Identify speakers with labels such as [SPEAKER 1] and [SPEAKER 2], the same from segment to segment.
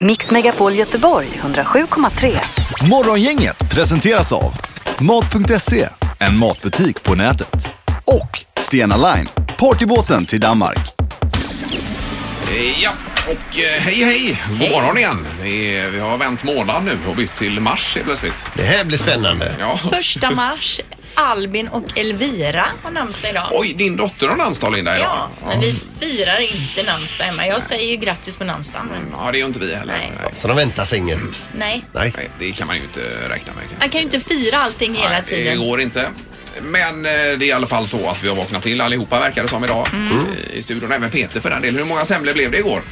[SPEAKER 1] Mix Megapol Göteborg 107,3.
[SPEAKER 2] Morgongänget presenteras av Mat.se, en matbutik på nätet. Och Stena Line, partybåten till Danmark.
[SPEAKER 3] Eh, Ja, och eh, hej hej! God morgon igen! Det är- Vi har vänt månad nu och bytt till mars helt plötsligt.
[SPEAKER 4] Det här blir spännande.
[SPEAKER 3] Ja.
[SPEAKER 5] Första mars, Albin och Elvira har namnsdag idag.
[SPEAKER 3] Oj, din dotter har namnsdag Linda idag.
[SPEAKER 5] Ja, men vi firar inte namnsdag hemma. Jag säger ju grattis på namnsdagen. men
[SPEAKER 3] Ja, det är ju inte vi heller.
[SPEAKER 5] Nej.
[SPEAKER 4] Så de väntas inget.
[SPEAKER 5] Nej,
[SPEAKER 4] Nej.
[SPEAKER 3] Nej, det kan man ju inte räkna med. kanske.
[SPEAKER 5] man kan ju inte fira allting hela
[SPEAKER 3] Nej, det
[SPEAKER 5] tiden.
[SPEAKER 3] går inte. Men eh, det är i alla fall så att vi har vaknat till allihopa verkar det som idag eh, i studion. Även Peter för den delen. Hur många semlor blev det igår?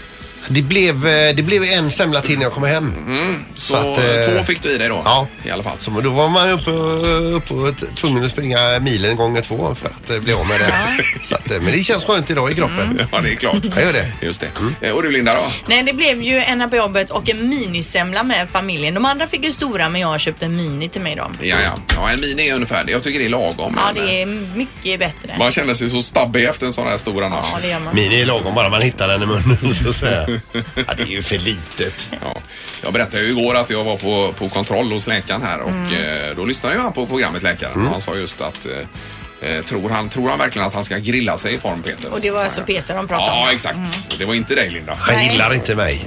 [SPEAKER 4] Det blev, eh, det blev en semla till när jag kom hem.
[SPEAKER 3] Mm. Så,
[SPEAKER 4] att, eh,
[SPEAKER 3] två fick du i dig då?
[SPEAKER 4] Ja.
[SPEAKER 3] I alla fall.
[SPEAKER 4] Så då var man uppe, och- uppe och t- tvungen att springa milen gånger två för att eh, bli av med det. Så att, eh, men det känns skönt idag i kroppen.
[SPEAKER 3] Ja, det är klart.
[SPEAKER 4] Jag gör det.
[SPEAKER 3] Just det. Eh, Och du Linda då?
[SPEAKER 5] Nej, det blev ju en på jobbet och en minisemla med familjen. De andra fick ju stora, men jag köpte en mini till mig då.
[SPEAKER 3] Ja, ja. ja, en mini är ungefär det. Jag tycker det är lagom.
[SPEAKER 5] Ja,
[SPEAKER 3] men, eh,
[SPEAKER 5] det är mycket bättre.
[SPEAKER 3] Man känner sig så stabbig efter en sån här stor annars.
[SPEAKER 5] Ja, det gör man.
[SPEAKER 4] Min är lagom bara man hittar den i munnen så att säga. Ja, det är ju för litet.
[SPEAKER 3] Ja. Jag berättade ju igår att jag var på, på kontroll hos läkaren här och
[SPEAKER 5] Mm.
[SPEAKER 3] eh, då lyssnade ju han på programmet Läkaren och han sa just att eh, eh, tror, han, tror han verkligen att han ska grilla sig i form Peter?
[SPEAKER 5] Och det var Mm. alltså Peter de pratade om.
[SPEAKER 3] Ja, exakt. Det var inte dig Linda.
[SPEAKER 4] Han
[SPEAKER 5] Nej.
[SPEAKER 4] gillar inte mig.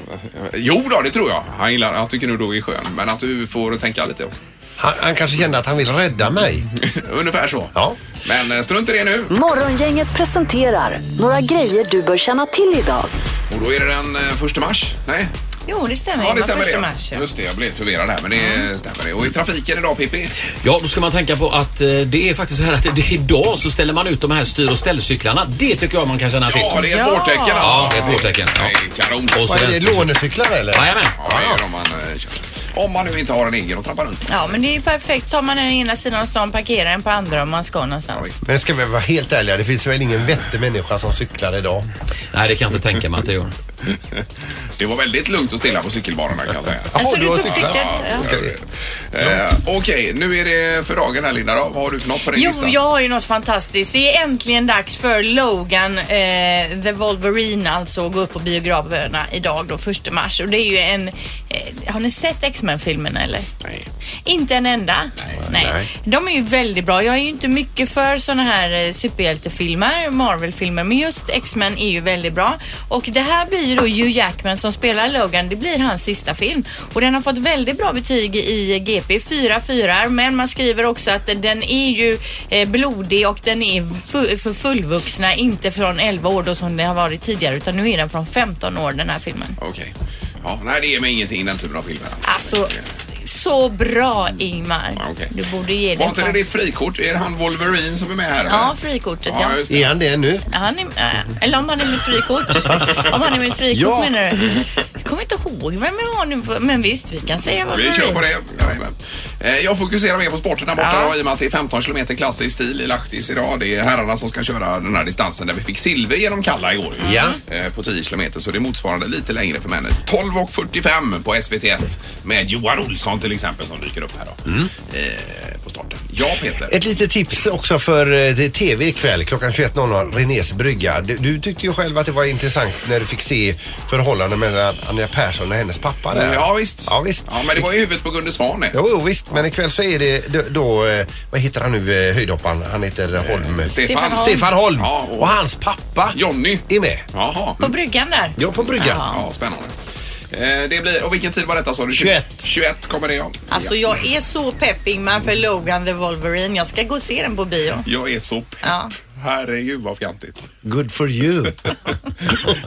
[SPEAKER 3] Jo då, det tror jag. Han gillar, han tycker nog du är skön. Men att du får tänka lite också.
[SPEAKER 4] Han, han kanske kände att han vill rädda mig.
[SPEAKER 3] Ungefär så.
[SPEAKER 4] Ja.
[SPEAKER 3] Men eh, strunt i det nu.
[SPEAKER 1] Morgongänget presenterar några grejer du bör känna till idag.
[SPEAKER 3] Och då är det den eh, första mars. Nej?
[SPEAKER 5] Jo, det stämmer.
[SPEAKER 3] Ja, det
[SPEAKER 5] var
[SPEAKER 3] stämmer
[SPEAKER 5] första
[SPEAKER 3] det.
[SPEAKER 5] mars. ja. Mm.
[SPEAKER 3] Just det, jag blev förvirrad här men det stämmer det. Och i trafiken idag Pippi?
[SPEAKER 6] Ja, då ska man tänka på att eh, det är faktiskt så här att det- det, idag så ställer man ut de här styr och ställcyklarna. Det tycker jag man kan känna till.
[SPEAKER 3] Ja, det är ett
[SPEAKER 5] Ja.
[SPEAKER 3] vårtecken alltså.
[SPEAKER 6] Ja, det är ett vårtecken, ja.
[SPEAKER 3] Nej, kanon.
[SPEAKER 6] Och så
[SPEAKER 4] Vad är det,
[SPEAKER 6] vänster-
[SPEAKER 4] lånecyklar eller?
[SPEAKER 6] Jajamän.
[SPEAKER 3] Ja, det är det om man eh, kör. Om man nu inte har en egen och trampar runt.
[SPEAKER 5] Ja, men det är ju perfekt. Tar man en ena sidan av stan, parkerar den på andra om man ska någonstans.
[SPEAKER 4] Men ska vi vara helt ärliga, det finns väl ingen vettig människa som cyklar idag?
[SPEAKER 6] Nej, det kan jag inte tänka mig att det gör.
[SPEAKER 3] Det var väldigt lugnt och stilla på cykelbanorna kan jag säga.
[SPEAKER 5] Alltså,
[SPEAKER 4] du
[SPEAKER 5] du
[SPEAKER 4] har
[SPEAKER 5] tog
[SPEAKER 4] cyklat?
[SPEAKER 5] cykeln? Ja.
[SPEAKER 3] Okej, eh, okej, nu är det för dagen här Linda då. Vad har du för något på din
[SPEAKER 5] Jo,
[SPEAKER 3] lista?
[SPEAKER 5] jag har ju något fantastiskt. Det är äntligen dags för Logan, eh, The Wolverine, alltså att gå upp på biograferna idag då, 1 mars. Och det är ju en... Eh, har ni sett X-Men-filmen eller?
[SPEAKER 3] Nej.
[SPEAKER 5] Inte en enda. Nej.
[SPEAKER 4] Nej.
[SPEAKER 5] De är ju väldigt bra. Jag är ju inte mycket för såna här eh, superhjältefilmer, Marvel-filmer, men just X-Men är ju väldigt bra. Och det här blir ju då Hugh Jackman som spelar Logan. Det blir hans sista film och den har fått väldigt bra betyg i GP. Fyra fyrar, men man skriver också att den är ju eh, blodig och den är fu- för fullvuxna, inte från 11 år då som det har varit tidigare, utan nu är den från 15 år den här filmen.
[SPEAKER 3] Okej. Ja, nej, det ger mig ingenting den typen av filmer.
[SPEAKER 5] Alltså, så bra Ingmar.
[SPEAKER 3] Ja, Ah, okej.
[SPEAKER 5] Du borde ge den
[SPEAKER 3] Var inte det
[SPEAKER 5] chans.
[SPEAKER 3] ditt frikort? Är det han Wolverine som är med här?
[SPEAKER 5] Ja,
[SPEAKER 3] eller?
[SPEAKER 5] frikortet ja.
[SPEAKER 3] ja. just det.
[SPEAKER 4] Är han det nu?
[SPEAKER 5] Han är, äh, eller om han är mitt frikort. om han är mitt frikort
[SPEAKER 4] Ja.
[SPEAKER 5] menar du? Jag kommer inte ihåg vem jag har nu, på- men visst vi kan säga vad
[SPEAKER 3] Vi kör på
[SPEAKER 5] är.
[SPEAKER 3] det. Jajamän. Eh, Jag fokuserar mer på sporten där borta
[SPEAKER 5] Ja.
[SPEAKER 3] då, i och med att det är 15 kilometer klassisk stil i Lahtis idag. Det är herrarna som ska köra den här distansen där vi fick silver genom Kalla igår. ju.
[SPEAKER 4] Ja.
[SPEAKER 3] Eh, På 10 kilometer så det är motsvarande lite längre för männen. 12.45 på SVT1 med Johan Olsson till exempel som dyker upp här då. Eh, På starten. Ja Peter.
[SPEAKER 4] Mm. Ett litet tips också för eh, det är TV ikväll klockan 21.00, Renés brygga. Du, du tyckte ju själv att det var intressant när du fick se förhållanden mellan Anja Persson och hennes pappa där.
[SPEAKER 3] Eh, Ja visst.
[SPEAKER 4] Ja, visst.
[SPEAKER 3] Ja, men det var i huvudet på Gunde Svan det.
[SPEAKER 4] Jo, jo visst, men ikväll så är det då, då eh, vad heter han nu, eh, höjdhopparen? Han heter Holm.
[SPEAKER 3] Stefan.
[SPEAKER 5] Holm.
[SPEAKER 4] Stefan Holm.
[SPEAKER 3] Ja, och-
[SPEAKER 4] och... hans pappa
[SPEAKER 3] Jonny.
[SPEAKER 4] är med.
[SPEAKER 3] Jaha.
[SPEAKER 5] På bryggan där.
[SPEAKER 4] Ja, på bryggan.
[SPEAKER 5] Ja.
[SPEAKER 3] Ja, spännande. Eh, Det blir, och vilken tid var detta sa du?
[SPEAKER 4] 21.
[SPEAKER 3] 21 kommer det ja.
[SPEAKER 5] Alltså jag är så pepp Ingmar för Logan the Wolverine. Jag ska gå och se den på bio.
[SPEAKER 3] Jag är så pepp.
[SPEAKER 5] Ja.
[SPEAKER 3] Herregud vad fjantigt.
[SPEAKER 4] Good for you.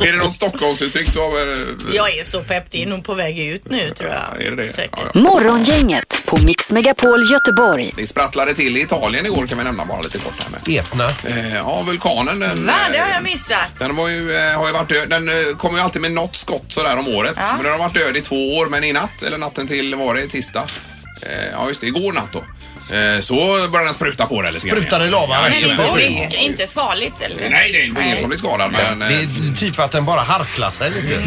[SPEAKER 3] är det någon Stockholmsuttryck du har? eh,
[SPEAKER 5] Jag är så pepp. Det är nog på väg ut nu tror jag.
[SPEAKER 3] Är det det?
[SPEAKER 5] Säkert.
[SPEAKER 3] Ja, ja.
[SPEAKER 1] Morgongänget på Mix Megapol Göteborg.
[SPEAKER 3] Det sprattlade till i Italien igår kan vi nämna bara lite kort här med.
[SPEAKER 4] Etna.
[SPEAKER 3] Eh, Ja, vulkanen. Den,
[SPEAKER 5] Va? Det har
[SPEAKER 3] eh,
[SPEAKER 5] jag missat.
[SPEAKER 3] Den var ju, eh, har ju varit död. Den eh, kommer ju alltid med något skott sådär om året.
[SPEAKER 5] Ja.
[SPEAKER 3] Men den har varit död i två år. Men i natt, eller natten till, var det tisdag? Eh, Ja, just det. Igår natt då. Eh, Så började den spruta på det.
[SPEAKER 4] Sprutade lava rätt
[SPEAKER 5] Men
[SPEAKER 4] in på
[SPEAKER 5] det
[SPEAKER 4] skyn.
[SPEAKER 5] är ju inte farligt eller?
[SPEAKER 3] Nej, det är ingen som blir skadad. Men,
[SPEAKER 4] Det
[SPEAKER 3] eh,
[SPEAKER 4] är typ att den bara harklar sig lite.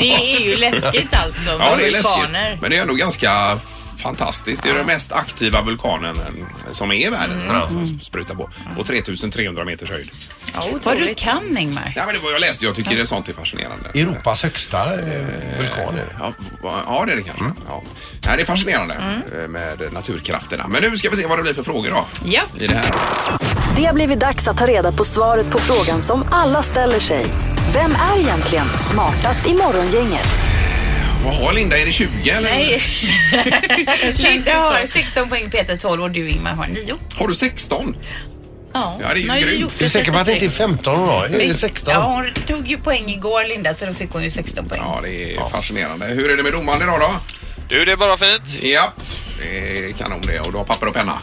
[SPEAKER 5] Det är ju läskigt alltså.
[SPEAKER 3] Ja,
[SPEAKER 5] med
[SPEAKER 3] det är läskigt.
[SPEAKER 5] vulkaner.
[SPEAKER 3] Men det är ändå ganska fantastiskt. Det är den mest aktiva vulkanen eh, som är i världen. Mm. Spruta på. På 3300 meters höjd.
[SPEAKER 5] Ja,
[SPEAKER 7] Vad du
[SPEAKER 5] otroligt.
[SPEAKER 7] kan Ingmar.
[SPEAKER 3] Nej, men det var jag läste. Jag tycker det är sånt är fascinerande.
[SPEAKER 4] Europas högsta eh, vulkan är det.
[SPEAKER 3] Ja, va- ja, det är det kanske. Ja. Nej, det är fascinerande
[SPEAKER 5] Mm.
[SPEAKER 3] eh, med naturkrafterna. Men nu ska vi se vad det blir för frågor då.
[SPEAKER 7] Ja.
[SPEAKER 3] I det här.
[SPEAKER 1] Det har blivit dags att ta reda på svaret på frågan som alla ställer sig. Vem är egentligen smartast i Morgongänget?
[SPEAKER 3] Jaha, Linda, är det 20 eller?
[SPEAKER 7] Nej.
[SPEAKER 5] Känns det
[SPEAKER 7] Linda har
[SPEAKER 5] så.
[SPEAKER 7] 16 poäng, Peter 12 och du Ingmar har 9.
[SPEAKER 3] Har du 16?
[SPEAKER 5] Ja,
[SPEAKER 3] Ja, det är ju
[SPEAKER 7] Hon har ju
[SPEAKER 3] grymt.
[SPEAKER 7] gjort
[SPEAKER 4] Du är säker på att det inte är 15 hon har? Är det 16?
[SPEAKER 7] Ja, hon tog ju poäng igår Linda så då fick hon ju 16 poäng.
[SPEAKER 3] Ja, det är fascinerande. Hur är det med domaren idag då?
[SPEAKER 8] Du, det är bara fint.
[SPEAKER 3] Ja, det är kanon det. Och du har papper och penna?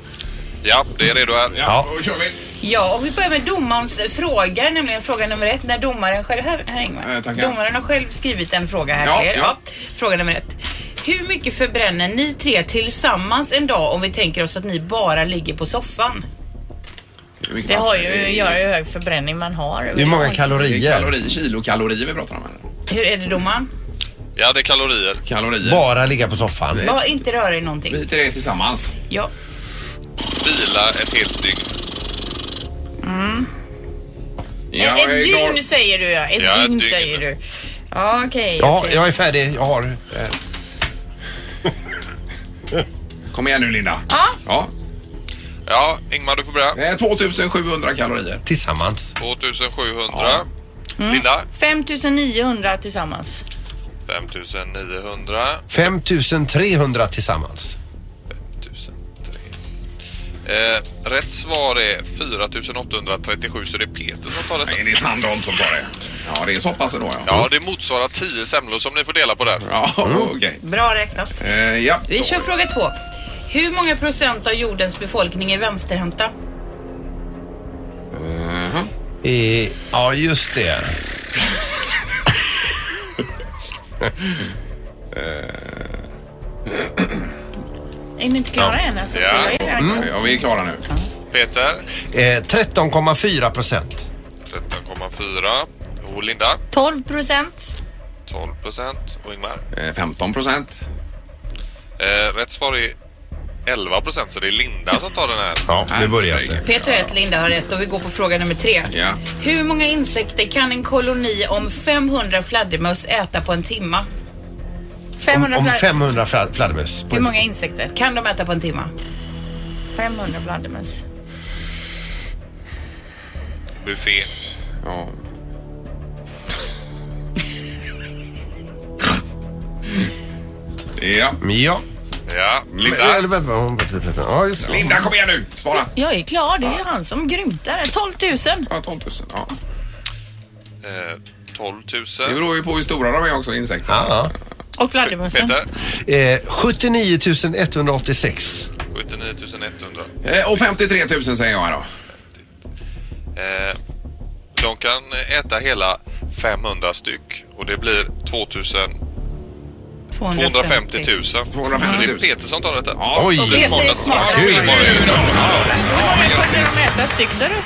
[SPEAKER 8] Ja, det är redo här.
[SPEAKER 3] Ja, då kör vi.
[SPEAKER 7] Ja, och vi börjar med domarens fråga, nämligen fråga nummer ett. När domaren själv, här, här Ingmar.
[SPEAKER 3] Eh, tackar.
[SPEAKER 7] domaren har själv skrivit en fråga här
[SPEAKER 3] Ja,
[SPEAKER 7] till er.
[SPEAKER 3] ja.
[SPEAKER 7] Fråga nummer ett. Hur mycket förbränner ni tre tillsammans en dag om vi tänker oss att ni bara ligger på soffan?
[SPEAKER 5] Det har ju att göra hur hög förbränning man har.
[SPEAKER 4] Hur många
[SPEAKER 3] Det är
[SPEAKER 4] kalorier?
[SPEAKER 3] kalorier, kilokalorier vi pratar om här.
[SPEAKER 7] Hur är det domaren?
[SPEAKER 8] Ja, det är kalorier.
[SPEAKER 3] Kalorier.
[SPEAKER 4] Bara ligga på soffan?
[SPEAKER 7] Bara inte röra i någonting.
[SPEAKER 3] Vi till det tillsammans.
[SPEAKER 7] Ja.
[SPEAKER 8] Vila ett helt dygn.
[SPEAKER 3] Ja,
[SPEAKER 5] ett
[SPEAKER 3] jag är
[SPEAKER 5] ett
[SPEAKER 3] klar.
[SPEAKER 5] dygn säger du ja. Ett
[SPEAKER 8] Ja, ett
[SPEAKER 5] dygn
[SPEAKER 8] dygn.
[SPEAKER 5] säger du. Ja, okej.
[SPEAKER 4] Ja, jag är färdig. Jag har... Eh,
[SPEAKER 3] Kom igen nu Linda. Ja.
[SPEAKER 8] Ja, Ingmar, du får börja.
[SPEAKER 3] Eh, 2700 kalorier.
[SPEAKER 4] tillsammans.
[SPEAKER 8] 2700.
[SPEAKER 3] Ja.
[SPEAKER 8] Linda,
[SPEAKER 5] 5900 tillsammans.
[SPEAKER 8] 5900.
[SPEAKER 4] 5300 tillsammans.
[SPEAKER 8] 1003. Eh, rätt svar är 4837, så det är Peter som tar
[SPEAKER 3] Nej,
[SPEAKER 8] detta.
[SPEAKER 3] det är Sandholm som tar det. Ja, det är så pass då ja.
[SPEAKER 8] Ja, det motsvarar 10 semlor som ni får dela på där.
[SPEAKER 3] Ja, okej.
[SPEAKER 7] Bra räknat.
[SPEAKER 3] Eh, ja.
[SPEAKER 7] Vi
[SPEAKER 3] då-
[SPEAKER 7] kör fråga två. Hur många procent av jordens befolkning är vänsterhänta?
[SPEAKER 4] Eh, ja, just det.
[SPEAKER 5] Är ni inte klara än? Alltså,
[SPEAKER 8] Ja.
[SPEAKER 5] Fyra är det.
[SPEAKER 3] Ja, Mm. vi är klara nu.
[SPEAKER 8] Peter,
[SPEAKER 4] Eh, 13,4 procent.
[SPEAKER 8] 13,4. Och Linda,
[SPEAKER 5] 12 procent.
[SPEAKER 8] 12 procent. Och Ingmar.
[SPEAKER 3] Eh, 15 procent.
[SPEAKER 8] Eh, rätt svar är 11 procent, så det är Linda som tar den här.
[SPEAKER 4] Ja, nu börjar
[SPEAKER 3] Herregud.
[SPEAKER 4] det.
[SPEAKER 7] Peter har rätt, Linda har rätt och vi går på fråga nummer tre.
[SPEAKER 3] Ja.
[SPEAKER 7] Hur många insekter kan en koloni om 500 fladdermöss äta på en timma?
[SPEAKER 5] 500
[SPEAKER 4] Om
[SPEAKER 5] fladder-
[SPEAKER 4] 500 fla- fladdermöss. på
[SPEAKER 5] Hur
[SPEAKER 4] ett-
[SPEAKER 5] många insekter?
[SPEAKER 7] Kan de äta på en timma?
[SPEAKER 5] 500 fladdermöss.
[SPEAKER 8] Buffé.
[SPEAKER 3] Ja. ja.
[SPEAKER 4] Ja.
[SPEAKER 8] Ja,
[SPEAKER 4] Eller-
[SPEAKER 8] Linda.
[SPEAKER 4] eller vänta, hon- Ja, just det.
[SPEAKER 3] Linda, kom igen nu! Svara!
[SPEAKER 5] Jag är klar. Det är ju han som grymtar. 12 000.
[SPEAKER 3] Ja, 12 000. Ja.
[SPEAKER 8] Eh, 12
[SPEAKER 3] Det
[SPEAKER 8] 000.
[SPEAKER 3] beror ju på hur stora de är också, insekterna.
[SPEAKER 4] Ja,
[SPEAKER 5] Och fladdermössen.
[SPEAKER 8] Peter,
[SPEAKER 4] ja. Eh, 79 186.
[SPEAKER 8] 79 100.
[SPEAKER 3] Eh, Och 53 000 säger jag här då.
[SPEAKER 8] Eh, de kan äta hela 500 styck och det blir 2000, 250 000. Så
[SPEAKER 3] 250
[SPEAKER 8] det
[SPEAKER 3] 000.
[SPEAKER 8] är Peter som tar detta.
[SPEAKER 3] Ja,
[SPEAKER 4] Oj.
[SPEAKER 8] Det är smartast.
[SPEAKER 7] Peter är smartast.
[SPEAKER 8] Ja, Ingmar är ju då.
[SPEAKER 5] Hur många kunde de äta styck sa du?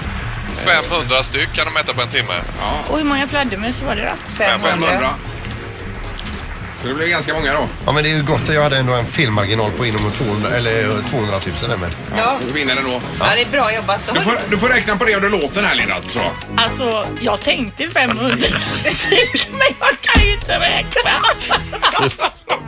[SPEAKER 8] 500 styck kan de äta på en timme.
[SPEAKER 5] Och hur många fladdermöss var det då?
[SPEAKER 3] 500. Så det blir ganska många då.
[SPEAKER 4] Ja, men det är ju gott att jag hade ändå en felmarginal på inomot 200, eller eh, 200 000. där, Men.
[SPEAKER 7] Ja.
[SPEAKER 3] Du vinner ändå.
[SPEAKER 7] ja, det är bra jobbat.
[SPEAKER 3] Du får, du får räkna på det under låten här Linda. tror jag.
[SPEAKER 5] Alltså, jag tänkte 500 styck, men jag kan ju inte räkna.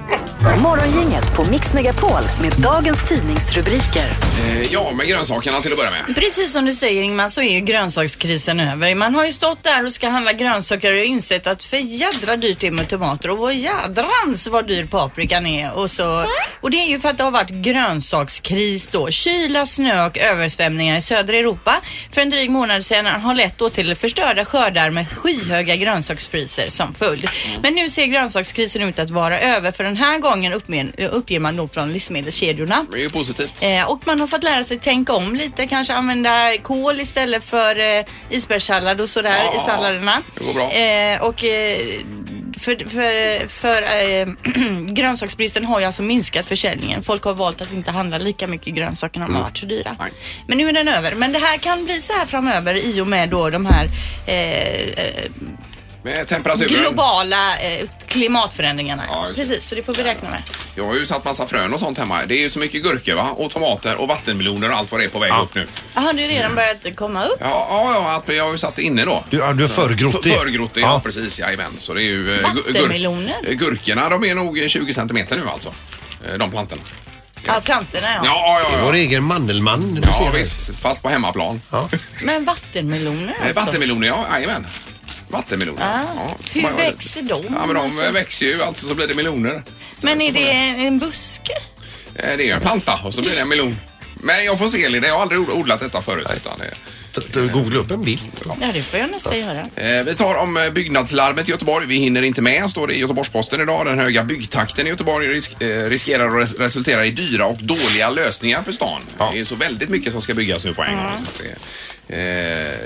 [SPEAKER 1] Morgongänget på Mix Megapol med dagens tidningsrubriker.
[SPEAKER 3] Eh, Ja, med grönsakerna till att börja med.
[SPEAKER 5] Precis som du säger Ingmar så är ju grönsakskrisen över. Man har ju stått där och ska handla grönsaker och insett att för jädra dyrt det är med tomater och vad jädrans vad dyr paprikan är. Och, så, och det är ju för att det har varit grönsakskris då. Kyla, snö och översvämningar i södra Europa för en dryg månad sedan har lett då till förstörda skördar med skyhöga grönsakspriser som följd. Men nu ser grönsakskrisen ut att vara över för den här gången uppmen- uppger man då från livsmedelskedjorna.
[SPEAKER 3] Det är ju positivt.
[SPEAKER 5] Eh, och man har fått lära sig tänka om lite, kanske använda kål istället för eh, isbergssallad och sådär
[SPEAKER 3] Ja,
[SPEAKER 5] i salladerna.
[SPEAKER 3] det går bra.
[SPEAKER 5] Eh, och eh, för, för, för eh, grönsaksbristen har ju alltså minskat försäljningen. Folk har valt att inte handla lika mycket grönsaker när de har varit så dyra.
[SPEAKER 3] Mm. Nej.
[SPEAKER 5] Men nu är den över. Men det här kan bli så här framöver i och med då de här eh, eh,
[SPEAKER 3] Med temperaturen.
[SPEAKER 5] globala eh, klimatförändringarna.
[SPEAKER 3] Alltså, Ja, just det.
[SPEAKER 5] Precis, så det får vi räkna med.
[SPEAKER 3] Jag har ju satt massa frön och sånt hemma. Det är ju så mycket gurkor va? Och tomater och vattenmeloner och allt vad det är på väg upp nu.
[SPEAKER 5] Jaha, det är
[SPEAKER 3] Mm.
[SPEAKER 5] redan börjat komma upp.
[SPEAKER 3] Ja, ja, ja att jag har ju satt det inne då.
[SPEAKER 4] Du, ja, du är för grottig.
[SPEAKER 3] För- Förgrottig, ja. precis. Jajamän. Så det är ju... eh, gu- gur-
[SPEAKER 5] Vattenmeloner.
[SPEAKER 3] eh, Gurkorna, de är nog 20 centimeter nu alltså. Eh, De plantorna.
[SPEAKER 5] Ja, plantorna ja.
[SPEAKER 3] Ja, ja,
[SPEAKER 4] Det är
[SPEAKER 3] ja.
[SPEAKER 4] Vår
[SPEAKER 3] ja.
[SPEAKER 4] egen mandelmann. Du
[SPEAKER 3] Ja,
[SPEAKER 4] ser det.
[SPEAKER 3] visst. Fast på hemmaplan.
[SPEAKER 4] Ja.
[SPEAKER 5] Men vattenmeloner
[SPEAKER 3] Eh,
[SPEAKER 5] alltså.
[SPEAKER 3] Vattenmeloner, ja. Jajamän. Vattenmeloner.
[SPEAKER 5] Ah.
[SPEAKER 3] Ja.
[SPEAKER 5] Hur
[SPEAKER 3] Man-
[SPEAKER 5] växer de?
[SPEAKER 3] Ja, men de
[SPEAKER 5] Alltså?
[SPEAKER 3] växer ju alltså så blir det meloner. Så-
[SPEAKER 5] Men
[SPEAKER 3] så
[SPEAKER 5] är
[SPEAKER 3] får
[SPEAKER 5] det en buske?
[SPEAKER 3] Eh, Det är ju en planta och så blir det en melon. Men jag får se Linda, jag har aldrig od- odlat detta förut. Utan det,
[SPEAKER 4] T- t- Googla upp en bild.
[SPEAKER 5] Ja, det får jag nästan göra.
[SPEAKER 3] Eh, Vi tar om eh, byggnadslarmet i Göteborg. Vi hinner inte med, står det i Göteborgs-Posten idag. Den höga byggtakten i Göteborg risk, eh, riskerar att res resultera i dyra och dåliga lösningar för stan. Det är så väldigt mycket som ska byggas nu på en gång. Så att det, eh,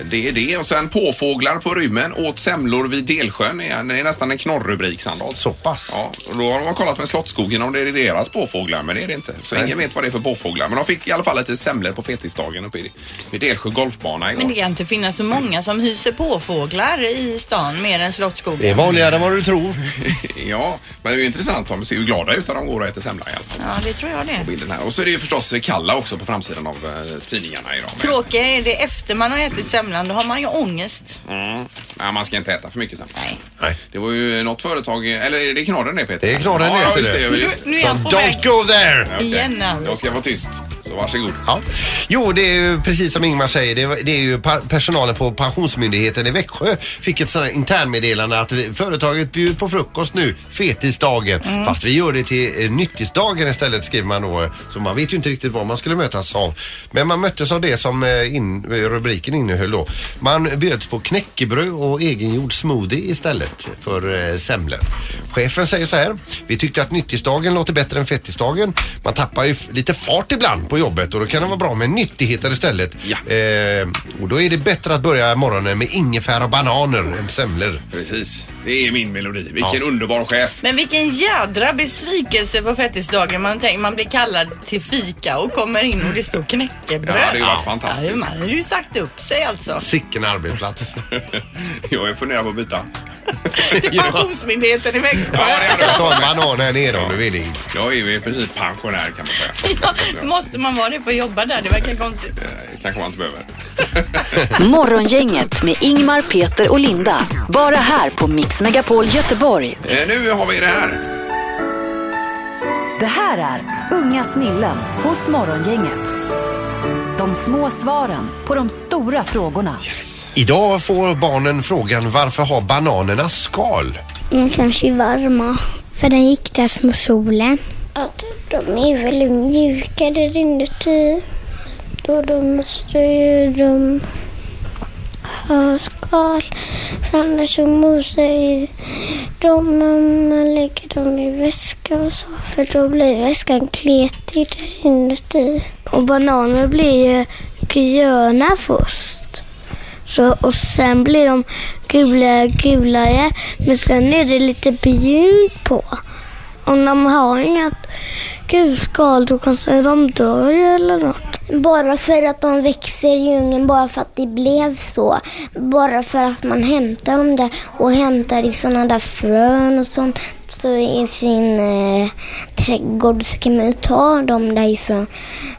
[SPEAKER 3] det är det. Och sen påfåglar på rymmen åt semlor vid Delsjön. Det är- Det är nästan en knorrrubrik, Sandholt.
[SPEAKER 4] Så pass.
[SPEAKER 3] Ja, och då har man kollat med Slottsskogen om det är deras påfåglar, men det är det inte. Så ingen vet vad det är för påfåglar. Men de fick i alla fall lite semlor på fetisdagen uppe i, i Delsjö golfbana igår.
[SPEAKER 5] Men det kan inte finnas så många som hyser påfåglar i stan mer än Slottsskogen.
[SPEAKER 4] Det är vanligare än vad du tror.
[SPEAKER 3] Ja, men det är ju intressant. De ser ju glada ut när de går och äter semla i alla fall.
[SPEAKER 5] Ja, det tror jag det.
[SPEAKER 3] på Bilden här. Och så är det ju förstås Kalla också på framsidan av eh, tidningarna idag. Men,
[SPEAKER 5] Tråkigare är det efter man har ätit semlan, då har man ju ångest.
[SPEAKER 3] mm, nej, man ska inte äta för mycket semla.
[SPEAKER 5] Nej.
[SPEAKER 4] Nej.
[SPEAKER 3] Det var ju något företag, eller är det Knorren det Peter?
[SPEAKER 4] Det är Knorren det,
[SPEAKER 3] ja,
[SPEAKER 4] ser
[SPEAKER 3] just det.
[SPEAKER 4] du.
[SPEAKER 3] ja, Just det.
[SPEAKER 5] Nu är
[SPEAKER 4] Så
[SPEAKER 5] jag på väg
[SPEAKER 4] don't go there!
[SPEAKER 3] Okej.
[SPEAKER 5] igen alltså.
[SPEAKER 3] Jag ska vara tyst, så varsågod.
[SPEAKER 4] Ja. Jo, det är ju precis som Ingmar säger. Det, är- det är ju pa- personalen på Pensionsmyndigheten i Växjö fick ett sånt här internmeddelande att vi, företaget bjuder på frukost nu, fetisdagen.
[SPEAKER 5] Mm.
[SPEAKER 4] Fast vi gör det till eh, nyttisdagen istället skriver man då. Så man vet ju inte riktigt vad man skulle mötas av. Men man möttes av det som eh, in, rubriken innehöll då. Man bjöds på knäckebröd och egengjord smoothie istället för eh, semlor. Chefen säger så här. Vi tyckte att nyttisdagen låter bättre än fettisdagen. Man tappar ju f- lite fart ibland på jobbet och då kan det vara bra med nyttigheter istället.
[SPEAKER 3] Ja.
[SPEAKER 4] Eh, och då är det bättre att börja morgonen med ingefära och bananer än semlor.
[SPEAKER 3] Precis, det är min melodi. Vilken
[SPEAKER 4] Ja.
[SPEAKER 3] underbar chef.
[SPEAKER 5] Men vilken jädra besvikelse på fettisdagen. Man tänker man blir kallad till fika och kommer in och det står knäckebröd.
[SPEAKER 3] Ja, det hade ju varit
[SPEAKER 5] Ja, det-
[SPEAKER 3] fantastiskt.
[SPEAKER 5] man hade ju sagt upp sig alltså.
[SPEAKER 4] Sicken arbetsplats.
[SPEAKER 3] jag funderar på att byta.
[SPEAKER 5] Till Pensionsmyndigheten i Växjö.
[SPEAKER 3] Ja, det hade
[SPEAKER 4] Jag
[SPEAKER 3] jag.
[SPEAKER 4] tar en banan här nere om du vill. Ingmar.
[SPEAKER 3] Jag är ju i princip pensionär kan man säga.
[SPEAKER 5] Ja, måste man vara det för att jobba där? Det verkar konstigt.
[SPEAKER 3] Eh, kanske man inte behöver.
[SPEAKER 1] Morgongänget med Ingmar, Peter och Linda. Bara här på Mix Megapol Göteborg.
[SPEAKER 3] Eh, nu har vi det här.
[SPEAKER 1] Det här är Unga snillen hos Morgongänget. De små svaren på de stora frågorna.
[SPEAKER 4] Idag får barnen frågan varför har bananerna skal?
[SPEAKER 9] De kanske är varma. För den giktas mot solen. Att typ. de är väldigt mjuka där inuti. Då de måste ju de ha skal. För annars så mosar ju de om man lägger dem i väska och så. För då blir väskan kletig där typ. inuti. Och bananer blir ju gröna först. Så, och sen blir de gula, gulare. Men sen är det lite brunt på. Om de har inget gulskal då kanske de dör ju eller något. Bara för att de växer i djungeln, bara för att det blev så. Bara för att man hämtar dem där och hämtar i sådana där frön och sånt. Så i sin eh, trädgård så kan man ju ta dem därifrån.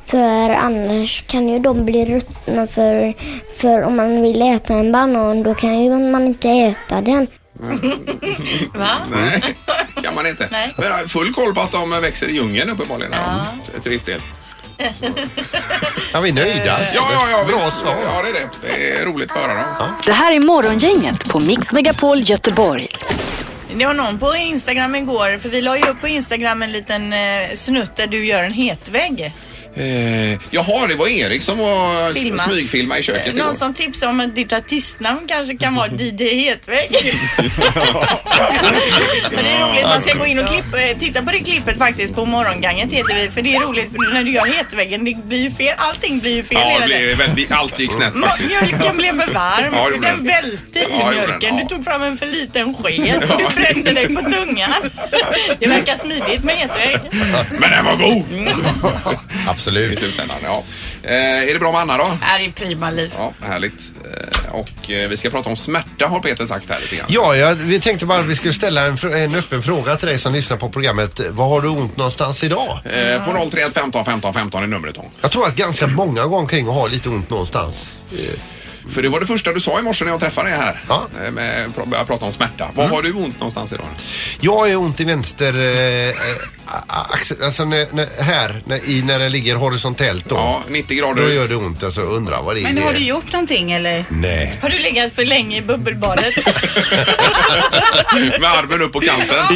[SPEAKER 9] För annars kan ju de bli ruttna för, för om man vill äta en banan då kan ju man inte äta den.
[SPEAKER 5] Va?
[SPEAKER 3] Nej, kan man inte. Men jag har full koll på att de växer i djungeln uppenbarligen. Ja. Till viss del.
[SPEAKER 4] Ja, vi är nöjda. alltså.
[SPEAKER 3] Eh, Ja, ja, ja.
[SPEAKER 4] Bra
[SPEAKER 3] visst.
[SPEAKER 4] svar.
[SPEAKER 3] Ja, det är det. Det är roligt att höra dem.
[SPEAKER 1] Det här är Morgongänget på Mix Megapol Göteborg.
[SPEAKER 5] Det var någon på Instagram igår, för vi la ju upp på Instagram en liten eh, snutt där du gör en hetvägg.
[SPEAKER 3] Eh, jaha, det var Erik som var
[SPEAKER 5] Filma. Eh,
[SPEAKER 3] smygfilma i köket igår.
[SPEAKER 5] Någon som tipsade om att ditt artistnamn kanske kan vara DJ Hetvägg. Men det är roligt, man ska gå in och klippa, eh, titta på det klippet faktiskt på morgonganget heter vi. För det är roligt för när du gör hetväggen, det blir ju fel, allting blir ju fel
[SPEAKER 3] Ja, det
[SPEAKER 5] hela tiden.
[SPEAKER 3] blev, väldigt- allt gick snett
[SPEAKER 5] Ma-
[SPEAKER 3] faktiskt.
[SPEAKER 5] Mjölken blev för varm,
[SPEAKER 3] Ja, det gjorde
[SPEAKER 5] den
[SPEAKER 3] den.
[SPEAKER 5] välte i
[SPEAKER 3] Ja, det gjorde
[SPEAKER 5] mjölken.
[SPEAKER 3] den,
[SPEAKER 5] Du
[SPEAKER 3] ja.
[SPEAKER 5] tog fram en för liten sked, du brände dig på tungan. Det verkar smidigt med hetvägg.
[SPEAKER 3] Men den var god! I
[SPEAKER 4] Absolut.
[SPEAKER 3] slutändan, ja. Eh, är det bra med Anna då?
[SPEAKER 5] Ja, det är prima liv.
[SPEAKER 3] Ja, härligt. Eh, och eh, vi ska prata om smärta har Peter sagt här lite grann.
[SPEAKER 4] Ja, jag, vi tänkte bara att vi skulle ställa en, fr- en öppen fråga till dig som lyssnar på programmet. Var har du ont någonstans idag?
[SPEAKER 3] Eh, på 031 15 15 15 är numret Tom.
[SPEAKER 4] Jag tror att ganska många går omkring och har lite ont någonstans.
[SPEAKER 3] För det var det första du sa i morse när jag träffade dig här.
[SPEAKER 4] Ja.
[SPEAKER 3] Eh, Med, pra- började prata om smärta. Var
[SPEAKER 10] Mm.
[SPEAKER 3] har du ont någonstans idag?
[SPEAKER 4] Jag är ont i vänster eh, eh, axel, alltså när, när, här, när, i, när det ligger horisontellt då.
[SPEAKER 3] Ja, 90
[SPEAKER 4] Då
[SPEAKER 3] grader
[SPEAKER 4] gör
[SPEAKER 3] ut.
[SPEAKER 4] det ont. Alltså, jag undrar vad det är.
[SPEAKER 7] Men har du gjort någonting eller?
[SPEAKER 4] Nej.
[SPEAKER 5] Har du legat för länge i bubbelbadet?
[SPEAKER 3] Med armen upp på kanten.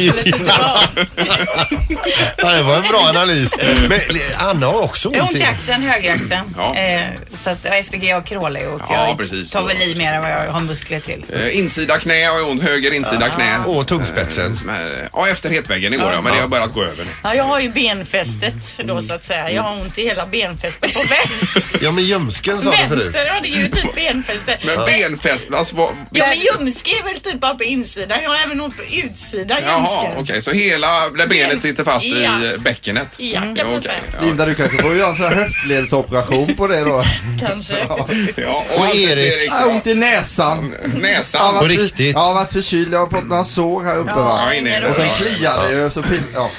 [SPEAKER 4] Ja, det var en bra analys. Men Anna har också
[SPEAKER 7] Jag har
[SPEAKER 4] ont
[SPEAKER 7] ont
[SPEAKER 4] i...
[SPEAKER 7] i axeln, högeraxeln.
[SPEAKER 3] Ja.
[SPEAKER 7] Eh, så att efter jag krålar ju och
[SPEAKER 3] Ja,
[SPEAKER 7] jag
[SPEAKER 3] precis.
[SPEAKER 7] tar väl i mer än vad jag har muskler till.
[SPEAKER 3] Eh, Insida knä har jag ont. Höger
[SPEAKER 10] Ah.
[SPEAKER 3] insida knä.
[SPEAKER 4] Och tungspetsen.
[SPEAKER 3] Som är- Ja, efter hetväggen igår ja, men det har börjat gå över nu.
[SPEAKER 5] Ja, jag har ju benfästet då så att säga. Jag har ont i hela benfästet på vänster.
[SPEAKER 4] Ja, men ljumsken sa du förut.
[SPEAKER 5] vänster. Ja, det är ju typ benfäste.
[SPEAKER 3] Men benfäst, alltså vad...
[SPEAKER 5] Ja, men ljumske är väl typ bara på insidan. Jag har även ont på utsidan
[SPEAKER 3] Jaha, okej,
[SPEAKER 5] ljumsken.
[SPEAKER 3] så hela där benet sitter fast i eh,
[SPEAKER 5] Ja.
[SPEAKER 3] bäckenet?
[SPEAKER 5] Ja, kan man säga.
[SPEAKER 3] ja.
[SPEAKER 10] Linda, du kanske får göra en sån här höftledsoperation på det då.
[SPEAKER 5] Kanske.
[SPEAKER 3] Ja,
[SPEAKER 4] Och
[SPEAKER 3] och Anders
[SPEAKER 4] Erik.
[SPEAKER 3] Erik.
[SPEAKER 10] Ah, ont i näsan.
[SPEAKER 3] Näsan.
[SPEAKER 4] På riktigt?
[SPEAKER 10] Jag har varit förkyld, jag har fått några sår här uppe va.
[SPEAKER 3] Ja, inne i det.
[SPEAKER 10] Och sen kliar det ju. Så pil- ja.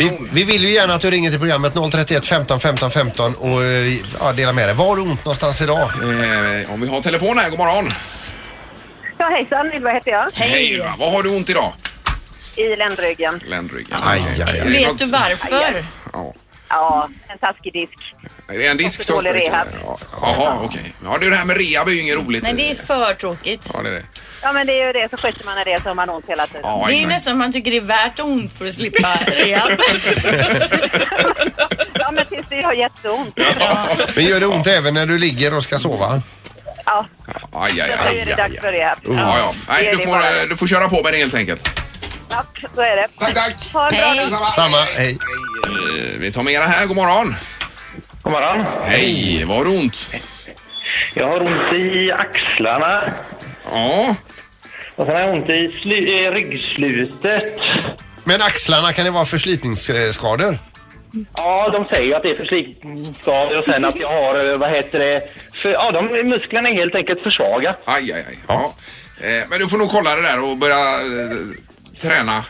[SPEAKER 4] Vi, vi vill ju gärna att du ringer till programmet 031 15 15 15 och eh, ja, dela med dig. Var har du ont någonstans idag?
[SPEAKER 3] Eh, om vi har telefon här, god morgon.
[SPEAKER 11] Ja, hejsan, Ylva heter jag.
[SPEAKER 3] Hej! Ylva. vad har du ont idag?
[SPEAKER 11] I ländryggen.
[SPEAKER 3] Ländryggen.
[SPEAKER 4] Aj, aj, aj.
[SPEAKER 3] Är det
[SPEAKER 5] Vet
[SPEAKER 3] något-
[SPEAKER 5] du varför?
[SPEAKER 3] Ja.
[SPEAKER 11] Ja, en taskig disk.
[SPEAKER 3] Är det en disk
[SPEAKER 11] Och
[SPEAKER 3] som
[SPEAKER 11] för dålig
[SPEAKER 3] spricker?
[SPEAKER 11] rehab.
[SPEAKER 3] Ja, Jaha, okej. Ja, det är det här med rehab är ju inget roligt.
[SPEAKER 5] Nej, det är för tråkigt.
[SPEAKER 3] Ja, det är det.
[SPEAKER 11] Ja, men det är ju det. Så skiter man i det så har man ont hela tiden.
[SPEAKER 3] Ja,
[SPEAKER 5] Det är ju
[SPEAKER 3] exakt.
[SPEAKER 5] nästan man tycker det är värt ont för att slippa rehab.
[SPEAKER 11] Ja, men tills det gör jätteont.
[SPEAKER 4] Men gör det ont även när du ligger och ska sova?
[SPEAKER 11] Ja,
[SPEAKER 3] Aj, aj,
[SPEAKER 11] då
[SPEAKER 3] aj,
[SPEAKER 11] är det dags
[SPEAKER 3] aj,
[SPEAKER 11] för
[SPEAKER 3] aj.
[SPEAKER 11] rehab.
[SPEAKER 3] Ja, ja.
[SPEAKER 11] Det
[SPEAKER 3] Nej,
[SPEAKER 11] är
[SPEAKER 3] du
[SPEAKER 11] det
[SPEAKER 3] får,
[SPEAKER 11] bara.
[SPEAKER 3] eh, du får köra på med det helt enkelt.
[SPEAKER 11] Ja, så är det.
[SPEAKER 3] Tack, tack!
[SPEAKER 11] Ha en bra dag.
[SPEAKER 4] Samma, hej.
[SPEAKER 3] Eh, Vi tar mera här, god morgon.
[SPEAKER 11] God morgon.
[SPEAKER 3] Hej, vad har du ont?
[SPEAKER 11] Jag har ont i axlarna.
[SPEAKER 3] Ja,
[SPEAKER 11] Och sen har jag ont i eh, ryggslutet.
[SPEAKER 4] Men axlarna, kan det vara förslitningsskador?
[SPEAKER 11] Ja, de säger ju att det är förslitningsskador och sen att jag har, eh, vad heter det, för, ja, de, musklerna är helt enkelt för svaga.
[SPEAKER 3] aj, aj, aj. Ja. Eh, Men du får nog kolla det där och börja eh, träna.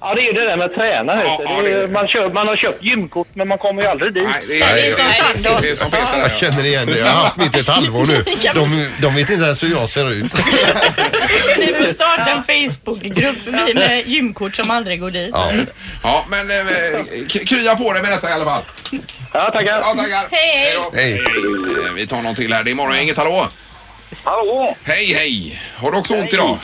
[SPEAKER 11] Ja, det är ju det där med att träna.
[SPEAKER 3] Ja,
[SPEAKER 11] vet du.
[SPEAKER 3] ja,
[SPEAKER 11] Det
[SPEAKER 3] det är
[SPEAKER 11] är, ju-
[SPEAKER 3] det.
[SPEAKER 11] man, kör, man har köpt gymkort, men man kommer ju aldrig dit.
[SPEAKER 3] Nej, det är, det
[SPEAKER 5] som Sandor.
[SPEAKER 3] det är som Peter
[SPEAKER 4] Jag
[SPEAKER 3] där, ja.
[SPEAKER 4] känner igen det. Jag har haft mitt i ett halvår nu. De, de vet inte ens hur jag ser ut.
[SPEAKER 5] Ni får starta en Facebookgrupp med gymkort som aldrig går dit.
[SPEAKER 3] ja, men eh, k- krya på dig med detta i alla fall.
[SPEAKER 11] Ja, tackar.
[SPEAKER 3] Ja, tackar.
[SPEAKER 5] Hej.
[SPEAKER 3] då.
[SPEAKER 4] Hej.
[SPEAKER 3] Eh, Vi tar någon till här. Det är morgon, inget hallå.
[SPEAKER 11] Hallå!
[SPEAKER 3] Hej, hej. Har du också ont idag?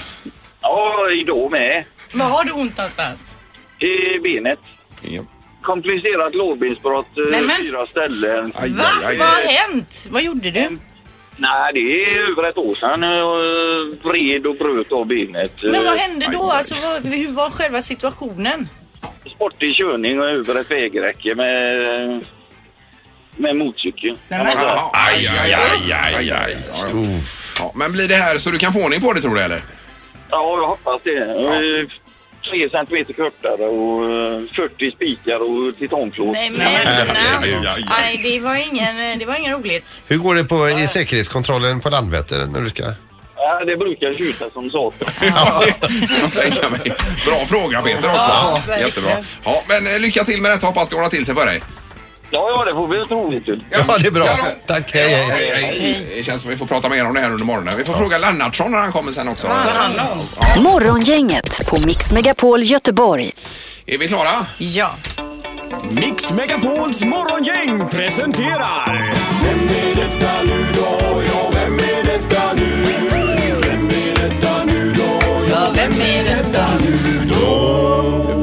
[SPEAKER 11] Ja, idag med.
[SPEAKER 5] Var har du ont någonstans?
[SPEAKER 11] I benet.
[SPEAKER 3] Ja.
[SPEAKER 11] Komplicerat lårbensbrott, eh,
[SPEAKER 5] Nämen.
[SPEAKER 11] fyra ställen.
[SPEAKER 3] Aj,
[SPEAKER 5] Va?
[SPEAKER 3] aj, aj.
[SPEAKER 5] Vad har hänt? Vad gjorde du?
[SPEAKER 11] Nej, det är över ett år sedan jag vred och bröt av benet.
[SPEAKER 5] Men vad
[SPEAKER 11] Eh,
[SPEAKER 5] hände då? Alltså, vad, hur var själva situationen?
[SPEAKER 11] Eh, Sportig körning och över ett vägräcke med, med motorcykel.
[SPEAKER 5] Nej, men-
[SPEAKER 3] Jaha. Aj, aj, aj, aj, aj. Ja, ja. Ja, men blir det här så du kan få ordning på det tror du eller?
[SPEAKER 11] Ja, jag hoppas det. Eh, Tre centimeter kortare och eh, 40 spikar och titanplåt.
[SPEAKER 5] Nej men,
[SPEAKER 3] aj,
[SPEAKER 5] nej.
[SPEAKER 3] aj.
[SPEAKER 5] Nej, det var ingen, det var ingen roligt.
[SPEAKER 4] Hur går det på, i säkerhetskontrollen på Landvetter när du ska...
[SPEAKER 11] Ja, eh, det brukar tjuta som satan.
[SPEAKER 3] Jag tänker mig. Bra fråga Peter också.
[SPEAKER 5] Ja, verkligen.
[SPEAKER 3] Jättebra. Ja, men eh, lycka till med detta. Hoppas det ordnar till sig för dig.
[SPEAKER 11] Ja, ja, det får vi tro. vet du.
[SPEAKER 4] Ja, det är
[SPEAKER 3] Ja,
[SPEAKER 4] bra. Tack, hej, hej.
[SPEAKER 3] Hej, hej. Det känns som vi får prata mer om det här under morgonen. Vi får fråga Lennartsson när han kommer sen också.
[SPEAKER 1] Morgongänget på Mix Megapol Göteborg.
[SPEAKER 3] Är vi klara?
[SPEAKER 5] Ja.
[SPEAKER 10] Mix Megapols morgongäng presenterar...
[SPEAKER 5] Vem är det?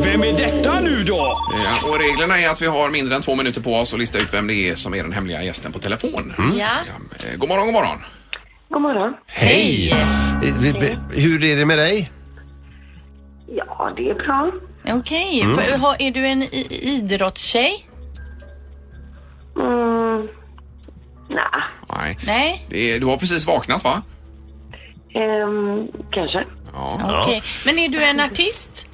[SPEAKER 10] Vem är detta nu då?
[SPEAKER 3] Ja, och reglerna är att vi har mindre än två minuter på oss att lista ut vem det är som är den hemliga gästen på telefon.
[SPEAKER 5] Ja.
[SPEAKER 3] Eh, God morgon, god morgon.
[SPEAKER 11] God morgon.
[SPEAKER 4] Hej! Eh, vi- be- Hur är det med dig?
[SPEAKER 11] Ja, det är bra.
[SPEAKER 5] Okej, för- har- är du en i- idrottstjej?
[SPEAKER 11] Mm. Nej,
[SPEAKER 3] Nej.
[SPEAKER 5] Nej,
[SPEAKER 3] Det är, du har precis vaknat va?
[SPEAKER 11] ehm, kanske.
[SPEAKER 3] Ja.
[SPEAKER 5] okej. Men är du en artist?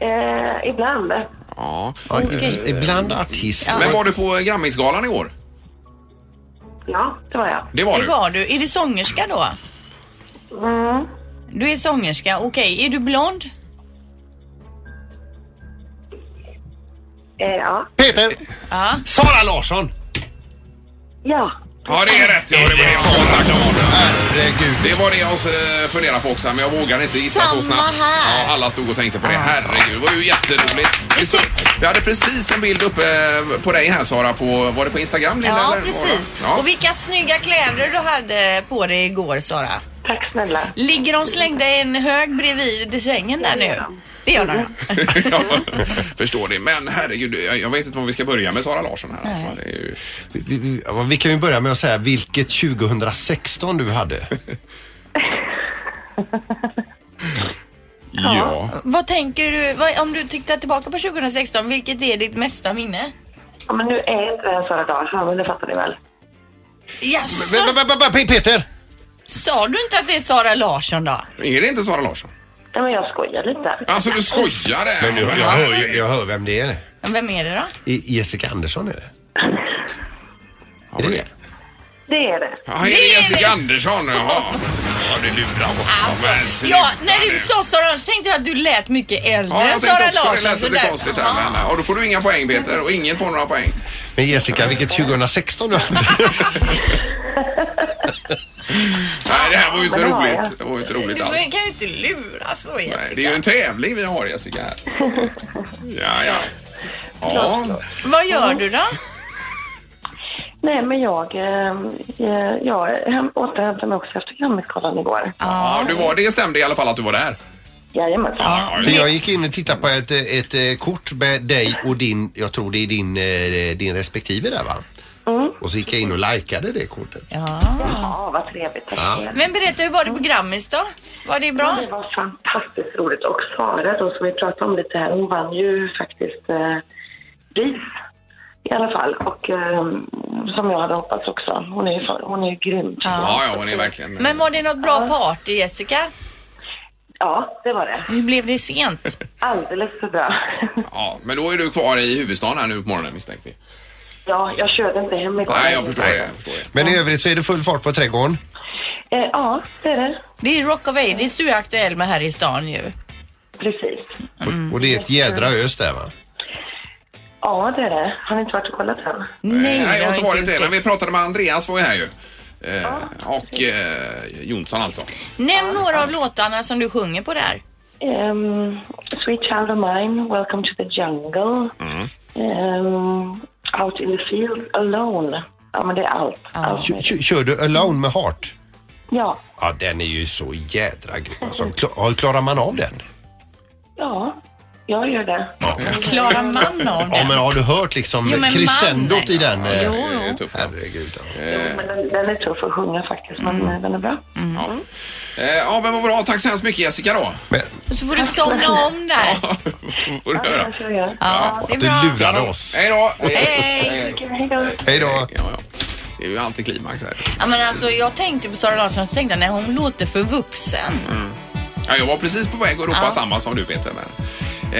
[SPEAKER 11] Eh, ibland.
[SPEAKER 3] ja.
[SPEAKER 5] Okej.
[SPEAKER 4] eh, Ibland artist.
[SPEAKER 3] Men var du på Grammisgalan igår?
[SPEAKER 12] Ja, det var jag.
[SPEAKER 3] Det var
[SPEAKER 5] det
[SPEAKER 3] du.
[SPEAKER 5] var du. Är du sångerska då?
[SPEAKER 12] Mm.
[SPEAKER 5] Du är sångerska, okej. Är du blond?
[SPEAKER 11] Eh,
[SPEAKER 12] Ja.
[SPEAKER 4] Peter!
[SPEAKER 5] Ja.
[SPEAKER 4] Sara Larsson!
[SPEAKER 12] Ja.
[SPEAKER 3] Ja, det är rätt. Ja, det var det jag hade sagt.
[SPEAKER 4] Herregud.
[SPEAKER 3] Det var det jag eh, funderade på också, men jag vågar inte gissa
[SPEAKER 5] Samma
[SPEAKER 3] så snabbt.
[SPEAKER 5] här.
[SPEAKER 3] Ja, alla stod och tänkte på det. Herregud, det var ju jätteroligt. Vi, stod, vi hade precis en bild uppe eh, på dig här, Sara. På, var det på Instagram? Linda,
[SPEAKER 5] Ja,
[SPEAKER 3] eller?
[SPEAKER 5] precis.
[SPEAKER 3] Ja.
[SPEAKER 5] Och vilka snygga kläder du hade på dig igår, Sara.
[SPEAKER 12] Tack snälla.
[SPEAKER 5] Ligger de slängda i en hög bredvid sängen där nu? Det gör
[SPEAKER 3] Mm.
[SPEAKER 5] de.
[SPEAKER 3] ja, förstår det. Men herregud, jag, jag vet inte var vi ska börja med Sara Larsson här. Alltså. Det är ju...
[SPEAKER 4] Vi, vi, vi- ja, vi kan ju börja med att säga vilket 2016 du hade.
[SPEAKER 3] ja.
[SPEAKER 5] Vad tänker du, vad, om du tittar tillbaka på 2016, vilket är ditt mesta minne?
[SPEAKER 12] Ja, men nu är inte det här Sara Larsson, men det fattar ni väl?
[SPEAKER 5] Jaså?
[SPEAKER 4] Men- men- men- men- Peter!
[SPEAKER 5] Sa du inte att det är Sara Larsson då?
[SPEAKER 3] Är det inte Sara Larsson?
[SPEAKER 12] Nej, men jag skojar lite.
[SPEAKER 3] Alltså du skojade!
[SPEAKER 4] Men nu, jag, hör, ju- jag hör vem det är.
[SPEAKER 5] Men Vem är det då?
[SPEAKER 4] I, Jessica Andersson är det.
[SPEAKER 3] Ja, det är det.
[SPEAKER 12] Det är det.
[SPEAKER 3] Ja, är det Jessica Andersson? Jaha. Ja, du lurar bort alltså,
[SPEAKER 5] Ja, när du sa Sara Larsson tänkte jag att du lät mycket äldre
[SPEAKER 3] Ja,
[SPEAKER 5] än
[SPEAKER 3] jag tänkte
[SPEAKER 5] Sara
[SPEAKER 3] också
[SPEAKER 5] Larsson.
[SPEAKER 3] det lät
[SPEAKER 5] så
[SPEAKER 3] lite
[SPEAKER 5] där-
[SPEAKER 3] konstigt här. Men, ja, då får du inga poäng Peter och ingen får några poäng.
[SPEAKER 4] Men Jessica, vilket 2016 du hade.
[SPEAKER 3] Nej, det här var ju inte
[SPEAKER 12] Men det har
[SPEAKER 3] roligt.
[SPEAKER 12] jag.
[SPEAKER 3] Det var ju inte roligt alls.
[SPEAKER 5] Du kan ju inte lura så
[SPEAKER 3] Nej,
[SPEAKER 5] Jessica.
[SPEAKER 3] det är ju en tävling vi har Jessica här. Ja, ja. Ja,
[SPEAKER 5] Vad gör du då?
[SPEAKER 12] Nej, men jag, eh, jag, jag hem- återhämtade mig också efter Grammisgalan igår.
[SPEAKER 3] ja du var, det stämde i alla fall att du var där.
[SPEAKER 12] Jajamensan.
[SPEAKER 3] Ja,
[SPEAKER 4] För jag gick in och tittade på ett, eh, ett eh, kort med dig och din, jag tror det är din, eh, din respektive där va? Och så gick jag in och likade det kortet.
[SPEAKER 12] Ja, vad trevligt. Tack
[SPEAKER 4] Ja.
[SPEAKER 12] så mycket.
[SPEAKER 5] Men berätta, hur var det på Grammis då? Var det
[SPEAKER 12] Ja,
[SPEAKER 5] bra?
[SPEAKER 12] det var fantastiskt roligt. Och Sara då, som vi pratade om lite här, hon vann ju faktiskt eh, pris i alla fall. Och eh, som jag hade hoppats också. Hon är ju, fan- hon är ju grym.
[SPEAKER 3] ja, ja hon är verkligen...
[SPEAKER 5] Men var det något bra party Jessica?
[SPEAKER 12] Ja, det var det.
[SPEAKER 5] Hur blev det sent?
[SPEAKER 12] Alldeles för bra.
[SPEAKER 3] Ja, men då är du kvar i huvudstaden här nu på morgonen misstänker vi.
[SPEAKER 12] ja, jag körde inte hem igår.
[SPEAKER 3] Nej, jag förstår det. Jag förstår det.
[SPEAKER 4] Men i övrigt så är det full fart på trädgården.
[SPEAKER 12] Eh, ja, det är det.
[SPEAKER 5] Det är Rock of Ages du är aktuell med här i stan ju.
[SPEAKER 12] Precis.
[SPEAKER 5] Mm.
[SPEAKER 4] Och, och det är ett jädra ös där va?
[SPEAKER 12] Ja, det är det. Har ni inte varit och kollat än?
[SPEAKER 5] Nej,
[SPEAKER 3] Nej, jag har inte varit
[SPEAKER 5] gjort
[SPEAKER 3] det. Men vi pratade med Andreas var ju här ju. Eh, Och eh, Jonsson alltså.
[SPEAKER 5] Nämn några av låtarna som du sjunger på där.
[SPEAKER 12] Ehm, Sweet Child of Mine, Welcome to the Jungle. Ehm, out in the Field, Alone. Ja, men det är allt.
[SPEAKER 13] Ah.
[SPEAKER 12] allt.
[SPEAKER 4] Kör, kör- kör du Alone med Heart?
[SPEAKER 12] Ja,
[SPEAKER 4] Ja, den är ju så jädra grym. Alltså, kla- klarar man av den?
[SPEAKER 12] ja, jag gör det.
[SPEAKER 5] Klarar man av
[SPEAKER 4] Ja,
[SPEAKER 5] det?
[SPEAKER 4] men har du hört liksom
[SPEAKER 5] Jo, men
[SPEAKER 4] crescendot
[SPEAKER 5] mannen.
[SPEAKER 4] i den? eh,
[SPEAKER 5] Jo,
[SPEAKER 3] Det är tufft.
[SPEAKER 4] Herregud. ja.
[SPEAKER 12] Jo, men den, den är tuff att sjunga faktiskt, men eh, den är bra.
[SPEAKER 3] Ja. Eh, Ja, men vad bra. Tack så hemskt mycket Jessica då.
[SPEAKER 4] Men
[SPEAKER 5] Och så får du somna om där.
[SPEAKER 3] får du höra.
[SPEAKER 12] Kanske jag gör.
[SPEAKER 5] Ja, det
[SPEAKER 4] att
[SPEAKER 5] är
[SPEAKER 4] du
[SPEAKER 5] bra.
[SPEAKER 4] lurade oss.
[SPEAKER 3] Hej då!
[SPEAKER 5] Hej!
[SPEAKER 12] Okej, hej då.
[SPEAKER 4] Hej då.
[SPEAKER 3] Ja, ja. Det är ju antiklimax här.
[SPEAKER 5] Ja, men alltså, jag tänkte på Sara Larsson och tänkte jag, nej, hon låter för vuxen.
[SPEAKER 3] Ja, jag var precis på väg att ropa
[SPEAKER 5] Ja.
[SPEAKER 3] samma som du Peter. Men...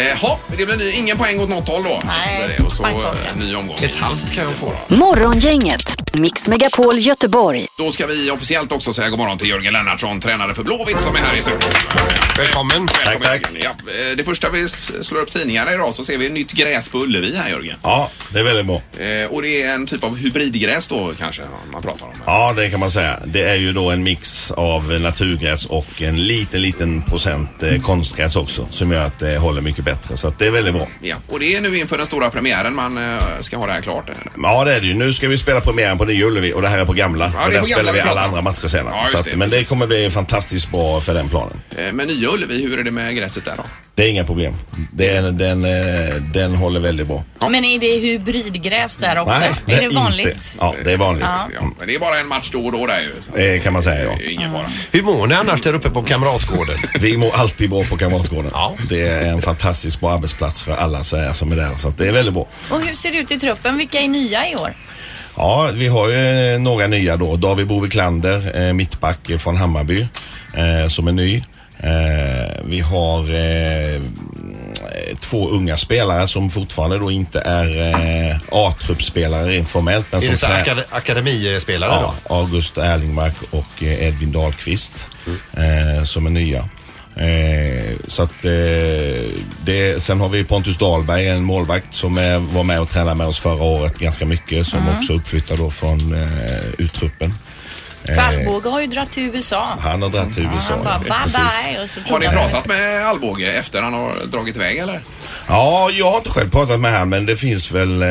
[SPEAKER 3] Eh, hopp, det blir ny, ingen poäng åt något håll då.
[SPEAKER 5] Nej,
[SPEAKER 3] Det är- Och så
[SPEAKER 5] banktorka.
[SPEAKER 3] eh, ny omgång.
[SPEAKER 4] Ett halvt kan jag få då.
[SPEAKER 1] Morgongänget, Mix Megapol Göteborg.
[SPEAKER 3] Då ska vi officiellt också säga god morgon till Jörgen Lennartsson, tränare för Blåvitt som är här i studion.
[SPEAKER 4] Välkommen.
[SPEAKER 3] Välkommen, Jörgen. Ja, eh, det första vi s- slår upp tidningarna idag så ser vi nytt gräs på Ullevi här Jörgen.
[SPEAKER 13] Ja, det är väldigt bra.
[SPEAKER 3] Eh, och det är en typ av hybridgräs då kanske man pratar om.
[SPEAKER 13] Ja, det kan man säga. Det är ju då en mix av naturgräs och en liten, liten procent eh, konstgräs också som gör att det håller mycket bättre. Så att det är väldigt bra.
[SPEAKER 3] Ja, och det är nu inför den stora premiären man eh, ska ha det här klart. eller?
[SPEAKER 13] Ja, det är det ju. Nu ska vi spela premiären på Nya Ullevi och det här är på gamla.
[SPEAKER 3] det är
[SPEAKER 13] och där
[SPEAKER 3] på gamla
[SPEAKER 13] spelar vi
[SPEAKER 3] vi
[SPEAKER 13] alla
[SPEAKER 3] pratar om.
[SPEAKER 13] andra matcher sedan.
[SPEAKER 3] Ja, just
[SPEAKER 13] så att,
[SPEAKER 3] det,
[SPEAKER 13] men det
[SPEAKER 3] precis.
[SPEAKER 13] kommer bli fantastiskt bra för den planen.
[SPEAKER 3] Eh, Men Nya Ullevi, hur är det med gräset där då?
[SPEAKER 13] Det är inga problem. Det är, den, eh, den håller väldigt bra.
[SPEAKER 5] Men är det hybridgräs där också? är det vanligt?
[SPEAKER 13] Inte. Ja, det är vanligt.
[SPEAKER 3] Ja, men det är bara en match då och då där ju. Så
[SPEAKER 13] Eh, kan man säga ja.
[SPEAKER 3] det är ingen fara.
[SPEAKER 4] Hur mår ni annars där uppe på Kamratgården?
[SPEAKER 13] Vi mår alltid bra på Kamratgården. Det är en fantastiskt bra arbetsplats för alla så här som är där. Så att det är väldigt bra.
[SPEAKER 5] Och hur ser det ut i truppen? Vilka är nya i år?
[SPEAKER 13] Ja, vi har ju eh, några nya då. David Boviklander, eh, mittback eh, från Hammarby, eh, som är ny. Eh, vi har eh, eh, två unga spelare som fortfarande då inte är eh, A-truppspelare rent formellt. Men
[SPEAKER 4] Är
[SPEAKER 13] som
[SPEAKER 4] det så här
[SPEAKER 13] Alltså, trä-
[SPEAKER 4] akade- akademispelare
[SPEAKER 13] ja, August Erlingmark och eh, Edvin Dahlqvist eh, som är nya. Eh, så att, eh, det, sen har vi Pontus Dahlberg, en målvakt som eh, var med och tränade med oss förra året ganska mycket som
[SPEAKER 5] Mm.
[SPEAKER 13] också är uppflyttad då från eh, U-truppen.
[SPEAKER 5] För Arboga har ju dratt till USA.
[SPEAKER 13] han har dragit till USA.
[SPEAKER 5] Han bara
[SPEAKER 13] ja, precis.
[SPEAKER 5] bye bye och så
[SPEAKER 3] Har ni
[SPEAKER 5] tog han-
[SPEAKER 3] pratat med Alvbåge efter han har dragit iväg eller?
[SPEAKER 13] Ja, jag har inte själv pratat med honom men det finns väl eh,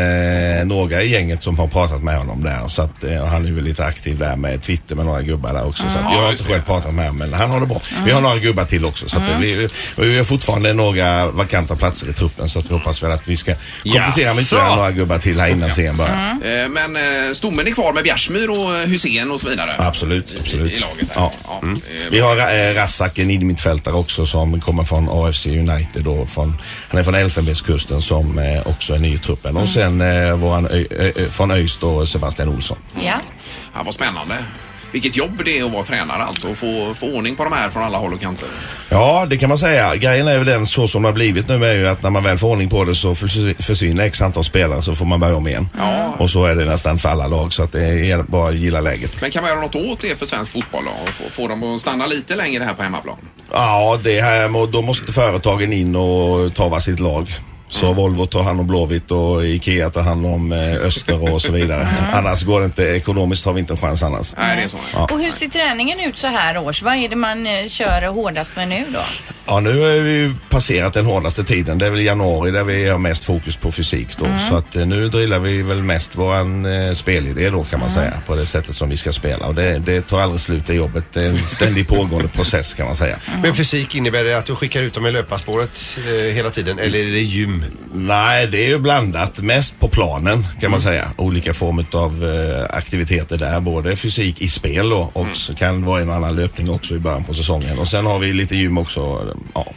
[SPEAKER 13] några i gänget som har pratat med honom där. Så att, eh, han är väl lite aktiv där med Twitter med några gubbar där också. Så
[SPEAKER 14] Mm.
[SPEAKER 13] att, jag
[SPEAKER 14] Ja,
[SPEAKER 13] har
[SPEAKER 14] just
[SPEAKER 13] inte själv pratat med honom men han har det bra. Vi har några gubbar till också. Så att, det
[SPEAKER 14] Mm.
[SPEAKER 13] blir, och vi har fortfarande några vakanta platser i truppen så att vi hoppas väl att vi ska komplettera med ytterligare
[SPEAKER 3] Jaså?
[SPEAKER 13] några gubbar till här innan serien börjar.
[SPEAKER 3] Eh, Men eh, stommen är kvar med Bjärsmyr och eh, Hussein och så vidare.
[SPEAKER 13] Absolut, absolut.
[SPEAKER 3] i laget
[SPEAKER 13] ja. Mm. Vi har Ra- eh, Rasak, en innermittfältare också som kommer från AFC United. Då, från, han är från Elfenbenskusten som eh, också är ny i truppen. Och sen eh, våran, Ö- Ö- Ö- från ÖIS då, Sebastian Olsson.
[SPEAKER 5] Ja.
[SPEAKER 3] ja. Vad spännande. Vilket jobb det är att vara tränare alltså och få, få ordning på de här från alla håll och kanter.
[SPEAKER 13] Ja, det kan man säga. Grejen är väl den så som det har blivit nu är ju att när man väl får ordning på det så försvi- försvinner x antal spelare så får man börja om igen. Och så är det nästan för alla lag så att det är bara att gilla läget.
[SPEAKER 3] Men kan man göra något åt det för svensk fotboll då? Och få, få dem att stanna lite längre här på hemmaplan?
[SPEAKER 13] Ja, det här, då måste företagen in och ta var sitt lag. Så Volvo tar hand om Blåvitt och Ikea tar hand om eh, Öster och så vidare. Annars går det inte, ekonomiskt har vi inte en chans annars.
[SPEAKER 3] Nej, det är så.
[SPEAKER 13] Ja.
[SPEAKER 5] Och hur ser träningen ut så här års? Vad är det man eh, kör hårdast med nu då?
[SPEAKER 13] Ja, nu har vi ju passerat den hårdaste tiden. Det är väl januari där vi har mest fokus på fysik då.
[SPEAKER 5] Mm.
[SPEAKER 13] Så att eh, nu drillar vi väl mest våran eh, spelidé då kan man säga. På det sättet som vi ska spela. Och det, det tar aldrig slut det jobbet. Det är en ständig pågående process kan man säga.
[SPEAKER 4] Men fysik innebär det att du skickar ut dem i löparspåret eh, hela tiden eller är det gym?
[SPEAKER 13] Nej, det är ju blandat. Mest på planen kan
[SPEAKER 3] Mm.
[SPEAKER 13] man säga. Olika former av eh, aktiviteter där. Både fysik i spel då, och
[SPEAKER 3] Mm.
[SPEAKER 13] så kan det vara en annan löpning också i början på säsongen. Och sen har vi lite gym också. Ja.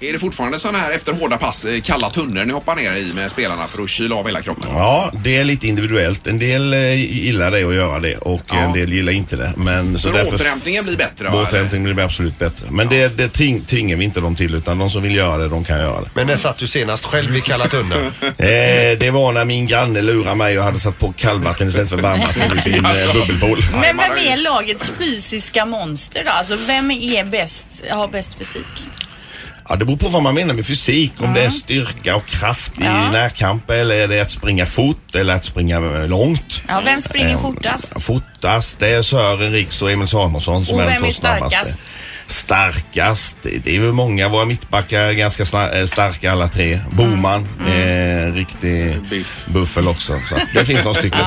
[SPEAKER 3] Är det fortfarande sådana här efter hårda pass eh, kalla tunnor ni hoppar ner i med spelarna för att kyla av hela kroppen?
[SPEAKER 13] ja, det är lite individuellt. En del eh, gillar det och göra det och en del gillar inte det. Men,
[SPEAKER 3] Så,
[SPEAKER 13] så därför...
[SPEAKER 3] återhämtningen blir bättre? va?
[SPEAKER 13] Återhämtningen blir absolut bättre. Men det, det ting, tvingar vi inte dem till utan de som vill göra det, de kan göra det.
[SPEAKER 4] Men när satt du senast själv i kalla tunnor?
[SPEAKER 13] Eh, det var när min granne lurade mig och hade satt på kallvatten istället för varmvatten i sin eh, bubbelpool.
[SPEAKER 5] Men vem är lagets fysiska monster då? Alltså vem är bäst, har bäst fysik?
[SPEAKER 13] Ja, det beror på vad man menar med fysik. Om det är styrka och kraft i närkamp eller är det att springa fort eller att springa eh, långt.
[SPEAKER 5] Ja, vem springer
[SPEAKER 13] Eh,
[SPEAKER 5] fortast?
[SPEAKER 13] Fortast, det är Sören Riks och Emil Samuelsson som
[SPEAKER 5] Och
[SPEAKER 13] är de
[SPEAKER 5] vem är
[SPEAKER 13] två snabbaste.
[SPEAKER 5] starkast?
[SPEAKER 13] Starkast, det det är väl många. Våra mittbackar är ganska sna- eh, starka alla tre. Boman,
[SPEAKER 5] Mm.
[SPEAKER 13] eh, riktig buffel också. Så att det finns några stycken.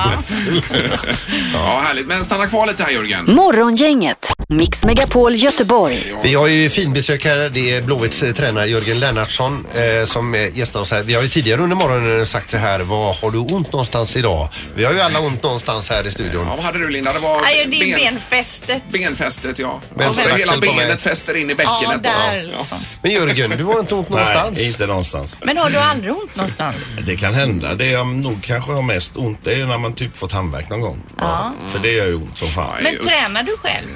[SPEAKER 3] Ja, härligt. Men stanna kvar lite här Jörgen.
[SPEAKER 1] Morgongänget, Mix Megapol Göteborg.
[SPEAKER 4] Vi har ju finbesök här. Det är Blåvitts eh, tränare Jörgen Lennartsson eh, som eh, gästar oss här. Vi har ju tidigare under morgonen eh, sagt så här, vad har du ont någonstans idag? Vi har ju alla ont någonstans här i studion.
[SPEAKER 3] Ja, vad hade du Linda? Det var
[SPEAKER 5] Nej, det är ju
[SPEAKER 3] ben-
[SPEAKER 5] benfästet.
[SPEAKER 3] benfästet ja.
[SPEAKER 4] Men
[SPEAKER 3] Alltså,
[SPEAKER 4] strax
[SPEAKER 3] hela
[SPEAKER 4] till på mig.
[SPEAKER 3] benet fäster in i bäckenet.
[SPEAKER 5] Ja, där
[SPEAKER 3] Ja.
[SPEAKER 5] liksom.
[SPEAKER 4] Men Jörgen, du har inte ont någonstans?
[SPEAKER 13] Nej, inte någonstans.
[SPEAKER 5] Men har du aldrig ont någonstans?
[SPEAKER 13] Det kan hända. Det jag nog kanske har mest ont det är ju när man typ fått tandvärk någon gång.
[SPEAKER 5] Ja.
[SPEAKER 13] För det gör ju ont som fan.
[SPEAKER 5] Men tränar du själv?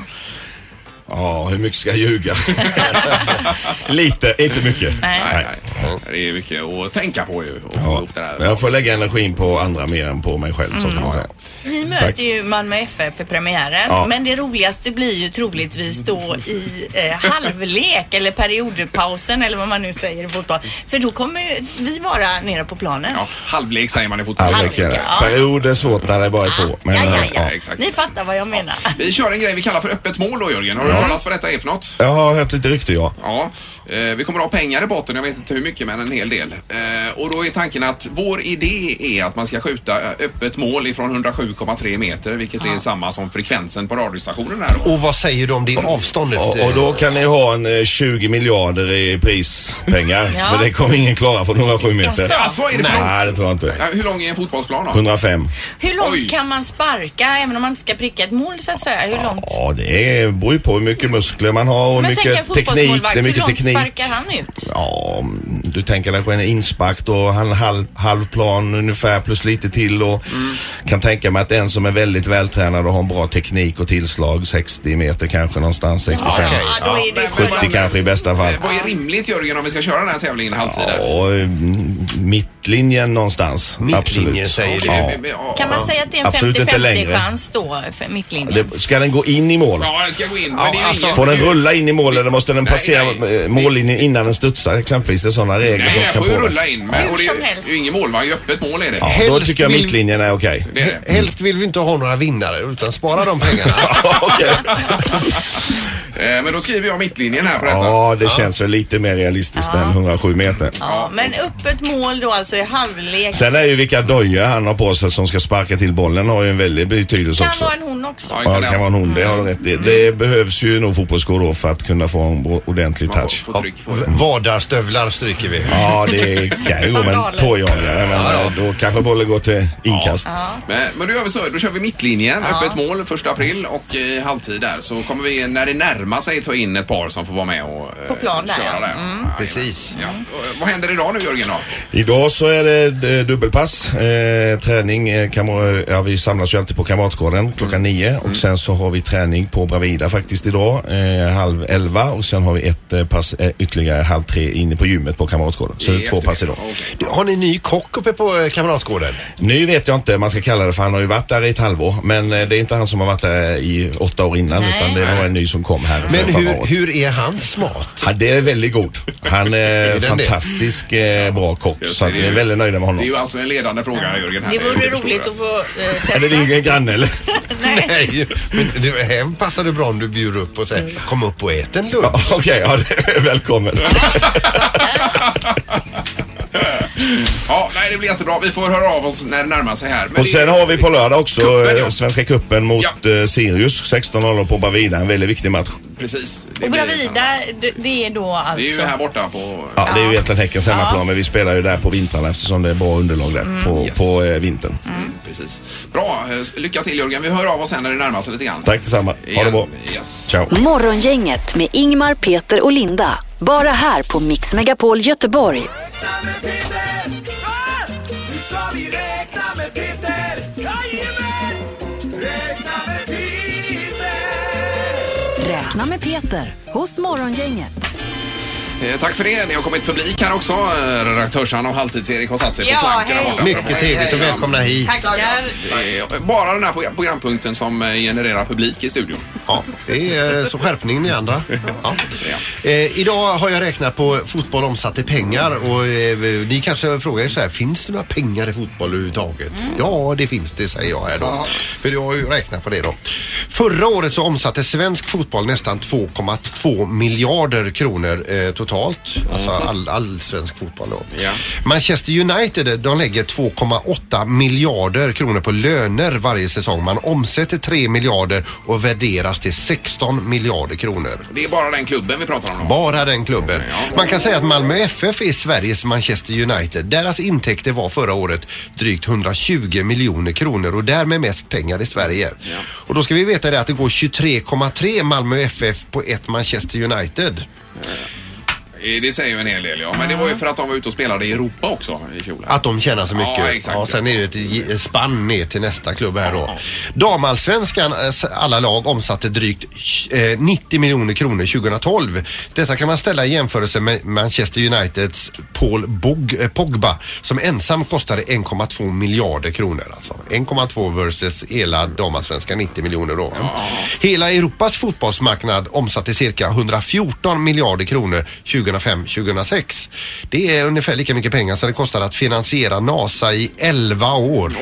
[SPEAKER 13] Ja, hur mycket ska jag ljuga? Lite, inte mycket.
[SPEAKER 5] Nej.
[SPEAKER 3] Ja, Det är mycket att tänka på ju. Och få
[SPEAKER 13] Ja.
[SPEAKER 3] ihop det där.
[SPEAKER 13] Jag får lägga energin på andra mer än på mig själv så kan man säga.
[SPEAKER 5] Ni möter
[SPEAKER 13] Tack.
[SPEAKER 5] ju Malmö FF för premiären,
[SPEAKER 13] Ja.
[SPEAKER 5] men det roligaste blir ju troligtvis då i eh, halvlek eller periodpausen eller vad man nu säger i fotboll. För då kommer ju vi vara nere på planen.
[SPEAKER 3] Ja, halvlek säger man i fotboll.
[SPEAKER 13] Ja, det kan jag. Period är svårt när det bara är två. Men,
[SPEAKER 5] Ah,
[SPEAKER 13] eh,
[SPEAKER 5] ja,
[SPEAKER 13] ja.
[SPEAKER 3] Exakt.
[SPEAKER 5] Ni fattar vad jag menar.
[SPEAKER 3] Vi kör en grej vi kallar för öppet mål då Jörgen. Har du hört vad detta är för något?
[SPEAKER 13] Jag har hört lite rykte ja.
[SPEAKER 3] Ja, eh, vi kommer att ha pengar i botten, jag vet inte hur mycket men en hel del. Eh, och då är tanken att vår idé är att man ska skjuta eh, öppet mål ifrån 107,3 meter vilket är samma som frekvensen på radiostationen här då.
[SPEAKER 4] Och vad säger du om det avståndet?
[SPEAKER 13] Och, och då kan ni ha en eh, 20 miljarder i prispengar.
[SPEAKER 3] Ja.
[SPEAKER 13] För det kommer ingen klara från 107 meter.
[SPEAKER 3] Jaså? Jaså, Alltså, är det för
[SPEAKER 13] Nej, det tror jag
[SPEAKER 3] Ja,
[SPEAKER 13] inte.
[SPEAKER 3] Hur lång är en fotbollsplan då?
[SPEAKER 13] 105.
[SPEAKER 5] Hur långt
[SPEAKER 3] Oj.
[SPEAKER 5] kan man sparka även om man inte ska pricka ett mål så att säga? Hur långt?
[SPEAKER 13] Ja, det är- beror ju på hur mycket muskler man har och hur
[SPEAKER 5] Men tänk en
[SPEAKER 13] mycket teknik.
[SPEAKER 5] fotbollsmålvakt,
[SPEAKER 13] Det är
[SPEAKER 5] hur
[SPEAKER 13] mycket
[SPEAKER 5] långt
[SPEAKER 13] teknik.
[SPEAKER 5] sparkar han ut?
[SPEAKER 13] Ja, du tänker dig en inspark och han halv, halv plan ungefär plus lite till och
[SPEAKER 3] Mm.
[SPEAKER 13] kan tänka mig att en som är väldigt vältränad och har en bra teknik och tillslag 60 meter kanske någonstans 65.
[SPEAKER 3] Ja, okej. Ja, då är det ju
[SPEAKER 13] 70
[SPEAKER 3] själva-
[SPEAKER 13] kanske i bästa fall.
[SPEAKER 3] Eh, Vad är rimligt Jörgen om vi ska köra den här tävlingen i halvtid? här?
[SPEAKER 13] Ja, mm, mittlinjen någonstans. Absolut.
[SPEAKER 3] säger du.
[SPEAKER 13] Ja.
[SPEAKER 5] Kan man säga att det är en
[SPEAKER 13] Absolut inte längre.
[SPEAKER 5] 50-50 chans då för mittlinjen?
[SPEAKER 13] Det, ska den gå in i mål?
[SPEAKER 3] Ja, den ska gå in. Men det är ju ingen...
[SPEAKER 13] alltså, Får den rulla in i mål eller måste den passera eh, mållinjen innan den studsar exempelvis? Det är sådana regler
[SPEAKER 3] Nej,
[SPEAKER 13] som
[SPEAKER 3] den
[SPEAKER 13] kan
[SPEAKER 3] får ju
[SPEAKER 13] påverka.
[SPEAKER 3] rulla in. Men,
[SPEAKER 13] Ja.
[SPEAKER 3] och det är ju ingen målvakt, ju öppet mål är det.
[SPEAKER 13] Ja, då tycker jag mittlinjen är okej.
[SPEAKER 4] Helst vill vi inte ha några vinnare utan spara de pengarna.
[SPEAKER 3] Eh, Men då skriver jag mittlinjen här på detta.
[SPEAKER 13] Ja, det känns väl lite mer realistiskt än 107 meter.
[SPEAKER 5] Ja, men öppet mål då alltså i halvlek.
[SPEAKER 13] Sen är ju vilka dojor han har på sig som ska sparka till bollen har ju en väldig betydelse
[SPEAKER 5] kan
[SPEAKER 13] också.
[SPEAKER 5] vara en Mm. hon också.
[SPEAKER 13] Ja, det kan vara en hon. Det har du rätt i. Det behövs ju nog fotbollsskor då för att kunna få en bra- ordentlig touch. Mm.
[SPEAKER 4] Vardagsstövlar stryker vi.
[SPEAKER 13] Ja, det kan ju gå med en
[SPEAKER 3] Sandaler.
[SPEAKER 13] tåjagare men eh, då kanske bollen går till inkast.
[SPEAKER 3] Men, men då gör vi så, då kör vi mittlinjen, öppet mål, första april och eh, halvtid där. Så kommer vi när det närmar sig ta in ett par som får vara med och eh,
[SPEAKER 5] På plan där,
[SPEAKER 3] köra
[SPEAKER 5] ja. Mm.
[SPEAKER 3] där. Precis. Ja. Och, Vad händer idag nu Jörgen då?
[SPEAKER 13] Idag så är det eh, dubbelpass, eh, träning, eh, kamra- ja, vi samlas ju alltid på Kamratgården klockan nio och sen så har vi träning på Bravida faktiskt idag, eh, halv elva och sen har vi ett eh, pass eh, ytterligare halv tre inne på gymmet på Kamratgården. Så
[SPEAKER 4] I
[SPEAKER 13] det är två pass idag.
[SPEAKER 4] Du, Har ni ny kock uppe på eh, Kamratgården?
[SPEAKER 13] Nu vet jag inte vad man ska kalla det för han har ju varit där i ett halvår men eh, det är inte han som har varit där i åtta år innan
[SPEAKER 4] Nej.
[SPEAKER 13] utan det var en ny som kom här för
[SPEAKER 4] Men
[SPEAKER 13] förra
[SPEAKER 4] hur,
[SPEAKER 13] året.
[SPEAKER 4] hur är hans mat?
[SPEAKER 13] Ja, det är väldigt god. Han är
[SPEAKER 4] den det?
[SPEAKER 13] fantastisk eh, bra kock så att
[SPEAKER 3] det är
[SPEAKER 13] vi är
[SPEAKER 3] ju-
[SPEAKER 13] väldigt nöjda med
[SPEAKER 3] Det är
[SPEAKER 13] honom.
[SPEAKER 3] ju alltså en ledande fråga Jörgen. Här.
[SPEAKER 5] Det vore
[SPEAKER 3] förstår
[SPEAKER 5] roligt
[SPEAKER 3] jag.
[SPEAKER 5] att få eh,
[SPEAKER 13] Är det
[SPEAKER 5] testa.
[SPEAKER 13] din granne eller?
[SPEAKER 4] Nej, men det här passar det bra om du bjuder upp och säger kom upp och ät en lunch.
[SPEAKER 13] Okej, ja, det är välkommen.
[SPEAKER 3] Ja, nej det blir jättebra. Vi får höra av oss när det närmar sig här. Men
[SPEAKER 13] Och
[SPEAKER 3] det-
[SPEAKER 13] sen har vi på lördag också
[SPEAKER 3] Cupen, ja.
[SPEAKER 13] eh, Svenska Cupen mot eh, Sirius 16-0 på Bravida. En väldigt viktig match.
[SPEAKER 3] Precis. Det
[SPEAKER 5] Och
[SPEAKER 3] blir-
[SPEAKER 5] Bravida, det- det är då alltså...
[SPEAKER 3] Det är ju här borta på...
[SPEAKER 13] Ja, det är ju egentligen Häckens
[SPEAKER 5] Ja.
[SPEAKER 13] hemmaplan men vi spelar ju där på vintrarna eftersom det är bra underlag där
[SPEAKER 3] Mm.
[SPEAKER 13] på, på eh, vintern.
[SPEAKER 3] Precis. Bra, eh, lycka till Jörgen. Vi hör av oss sen när det närmar sig lite grann.
[SPEAKER 13] Tack detsamma. Ha det bra. Ciao.
[SPEAKER 1] Morgongänget med Ingmar, Peter och Linda. Bara här på Mix Megapol Göteborg.
[SPEAKER 10] Nu ska vi räkna med Peter! Jajamän! Räkna med Peter!
[SPEAKER 1] Räkna med Peter hos Morgongänget.
[SPEAKER 3] Eh, Tack för det. Ni har kommit publik här också. Eh, Redaktörs-Anna och Halvtids-Erik har satt sig
[SPEAKER 5] Ja,
[SPEAKER 3] på flanken där
[SPEAKER 5] hej.
[SPEAKER 3] borta.
[SPEAKER 4] Mycket
[SPEAKER 3] Hej,
[SPEAKER 4] trevligt
[SPEAKER 3] hej,
[SPEAKER 4] och
[SPEAKER 3] ja.
[SPEAKER 4] välkomna hit.
[SPEAKER 5] Tackar.
[SPEAKER 3] Eh, Bara den här pro- programpunkten som eh, genererar publik i studion.
[SPEAKER 4] Ja, det är eh, så skärpningen i andra. Ja. Eh, idag har jag räknat på fotboll omsatt i pengar och eh, ni kanske frågar er så här, finns det några pengar i fotboll överhuvudtaget? Ja, det finns det säger jag här då. För jag har ju räknat på det då. Förra året så omsatte svensk fotboll nästan 2,2 miljarder kronor eh, totalt. Alltså all, all svensk fotboll då. Manchester United eh, de lägger 2,8 miljarder kronor på löner varje säsong. Man omsätter 3 miljarder och värderas till 16 miljarder kronor.
[SPEAKER 3] Det är bara den klubben vi pratar om. då.
[SPEAKER 4] Bara den klubben. Man kan säga att Malmö FF är Sveriges Manchester United. Deras intäkter var förra året drygt 120 miljoner kronor och därmed mest pengar i Sverige. Och då ska vi veta det att det går 23,3 Malmö FF på ett Manchester United.
[SPEAKER 3] Eh, Det säger ju en hel del, ja. Men det var ju för att de var ute och spelade i Europa också i fjol.
[SPEAKER 4] Att de tjänar så mycket.
[SPEAKER 3] Ja, exakt.
[SPEAKER 4] sen är det ett ge- spann ner till nästa klubb här då. Damallsvenskan, eh, s- alla lag omsatte drygt eh, 90 miljoner kronor 2012. Detta kan man ställa i jämförelse med Manchester Uniteds Paul Bog, eh, Pogba som ensam kostade 1,2 miljarder kronor. Alltså 1,2 versus hela damallsvenskan 90 miljoner då. Hela Europas fotbollsmarknad omsatte cirka 114 miljarder kronor 2005-2006. Det är ungefär lika mycket pengar som det kostade att finansiera NASA i 11 år.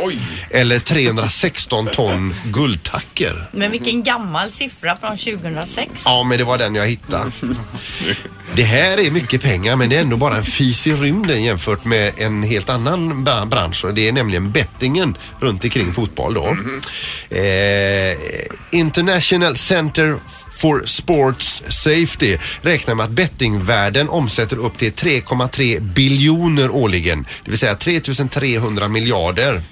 [SPEAKER 4] Eller 316 ton guldtacker.
[SPEAKER 5] Men vilken gammal siffra från 2006.
[SPEAKER 4] Ja, men det var den jag hittade. Det här är mycket pengar men det är ändå bara en fis i rymden jämfört med en helt annan bra- bransch och det är nämligen bettingen runt omkring fotboll då. Eh, International Center for Sports Safety räknar med att bettingvärlden omsätter upp till 3,3 biljoner årligen. Det vill säga 3300 miljarder.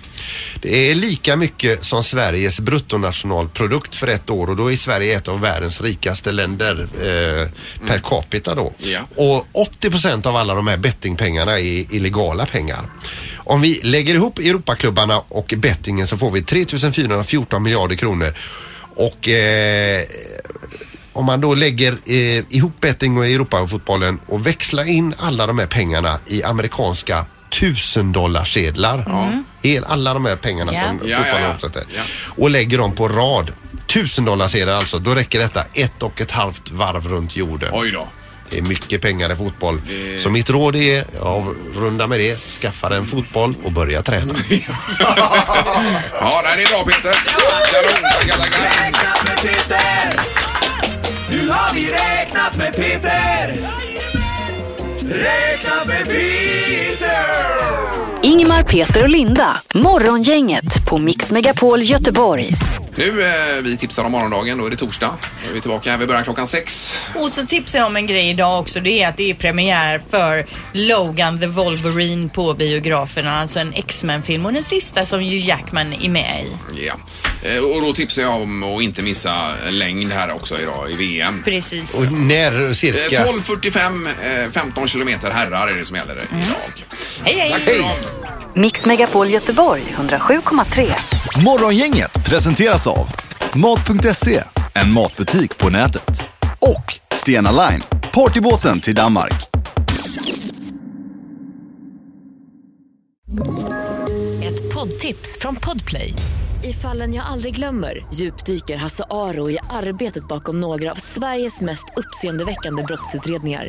[SPEAKER 4] Det är lika mycket som Sveriges bruttonationalprodukt för ett år och då är Sverige ett av världens rikaste länder eh, per capita då.
[SPEAKER 3] Ja.
[SPEAKER 4] Och 80 av alla de här bettingpengarna är illegala pengar. Om vi lägger ihop Europaklubbarna och bettingen så får vi 3414 miljarder kronor. Och eh, om man då lägger eh, ihop betting och Europafotbollen och växlar in alla de här pengarna i amerikanska tusendollarsedlar.
[SPEAKER 10] Mm.
[SPEAKER 4] Hel, alla de här pengarna
[SPEAKER 10] Ja.
[SPEAKER 4] som
[SPEAKER 10] Ja,
[SPEAKER 4] fotbollen
[SPEAKER 10] ja, ja.
[SPEAKER 4] omsätter. Och lägger dem på rad. Tusendollarsedlar alltså. Då räcker detta ett och ett halvt varv runt jorden.
[SPEAKER 3] Oj då.
[SPEAKER 4] Det är mycket pengar i fotboll.
[SPEAKER 3] Det-
[SPEAKER 4] Så mitt råd är, avrunda med det, skaffa dig en fotboll och börja träna.
[SPEAKER 3] Ja, nej, det är bra Peter. Kanon, tackar, tackar.
[SPEAKER 10] Nu har vi räknat med Peter! Räknat med Peter!
[SPEAKER 1] Ingmar, Peter och Linda. Morgongänget på Mix Megapol Göteborg.
[SPEAKER 3] Nu, eh, vi tipsar om morgondagen. Då är det torsdag. Då är vi tillbaka här. Vi börjar klockan sex.
[SPEAKER 5] Och så tipsar jag om en grej idag också. Det är att det är premiär för Logan the Wolverine på biograferna. Alltså en X-Men-film och den sista som ju Jackman är med i.
[SPEAKER 3] Ja. Eh, Och då tipsar jag om att inte missa längd här också idag i VM.
[SPEAKER 5] Precis.
[SPEAKER 4] Och när cirka?
[SPEAKER 3] Eh, 12.45, eh, 15 kilometer herrar är det som gäller idag.
[SPEAKER 5] Hej, hej!
[SPEAKER 1] Mix Megapol Göteborg 107,3.
[SPEAKER 2] Morgongänget presenteras av Mat.se, en matbutik på nätet. Och Stena Line, partybåten till Danmark.
[SPEAKER 14] Ett poddtips från Podplay. I fallen jag aldrig glömmer djupdyker Hasse Aro i arbetet bakom några av Sveriges mest uppseendeväckande brottsutredningar.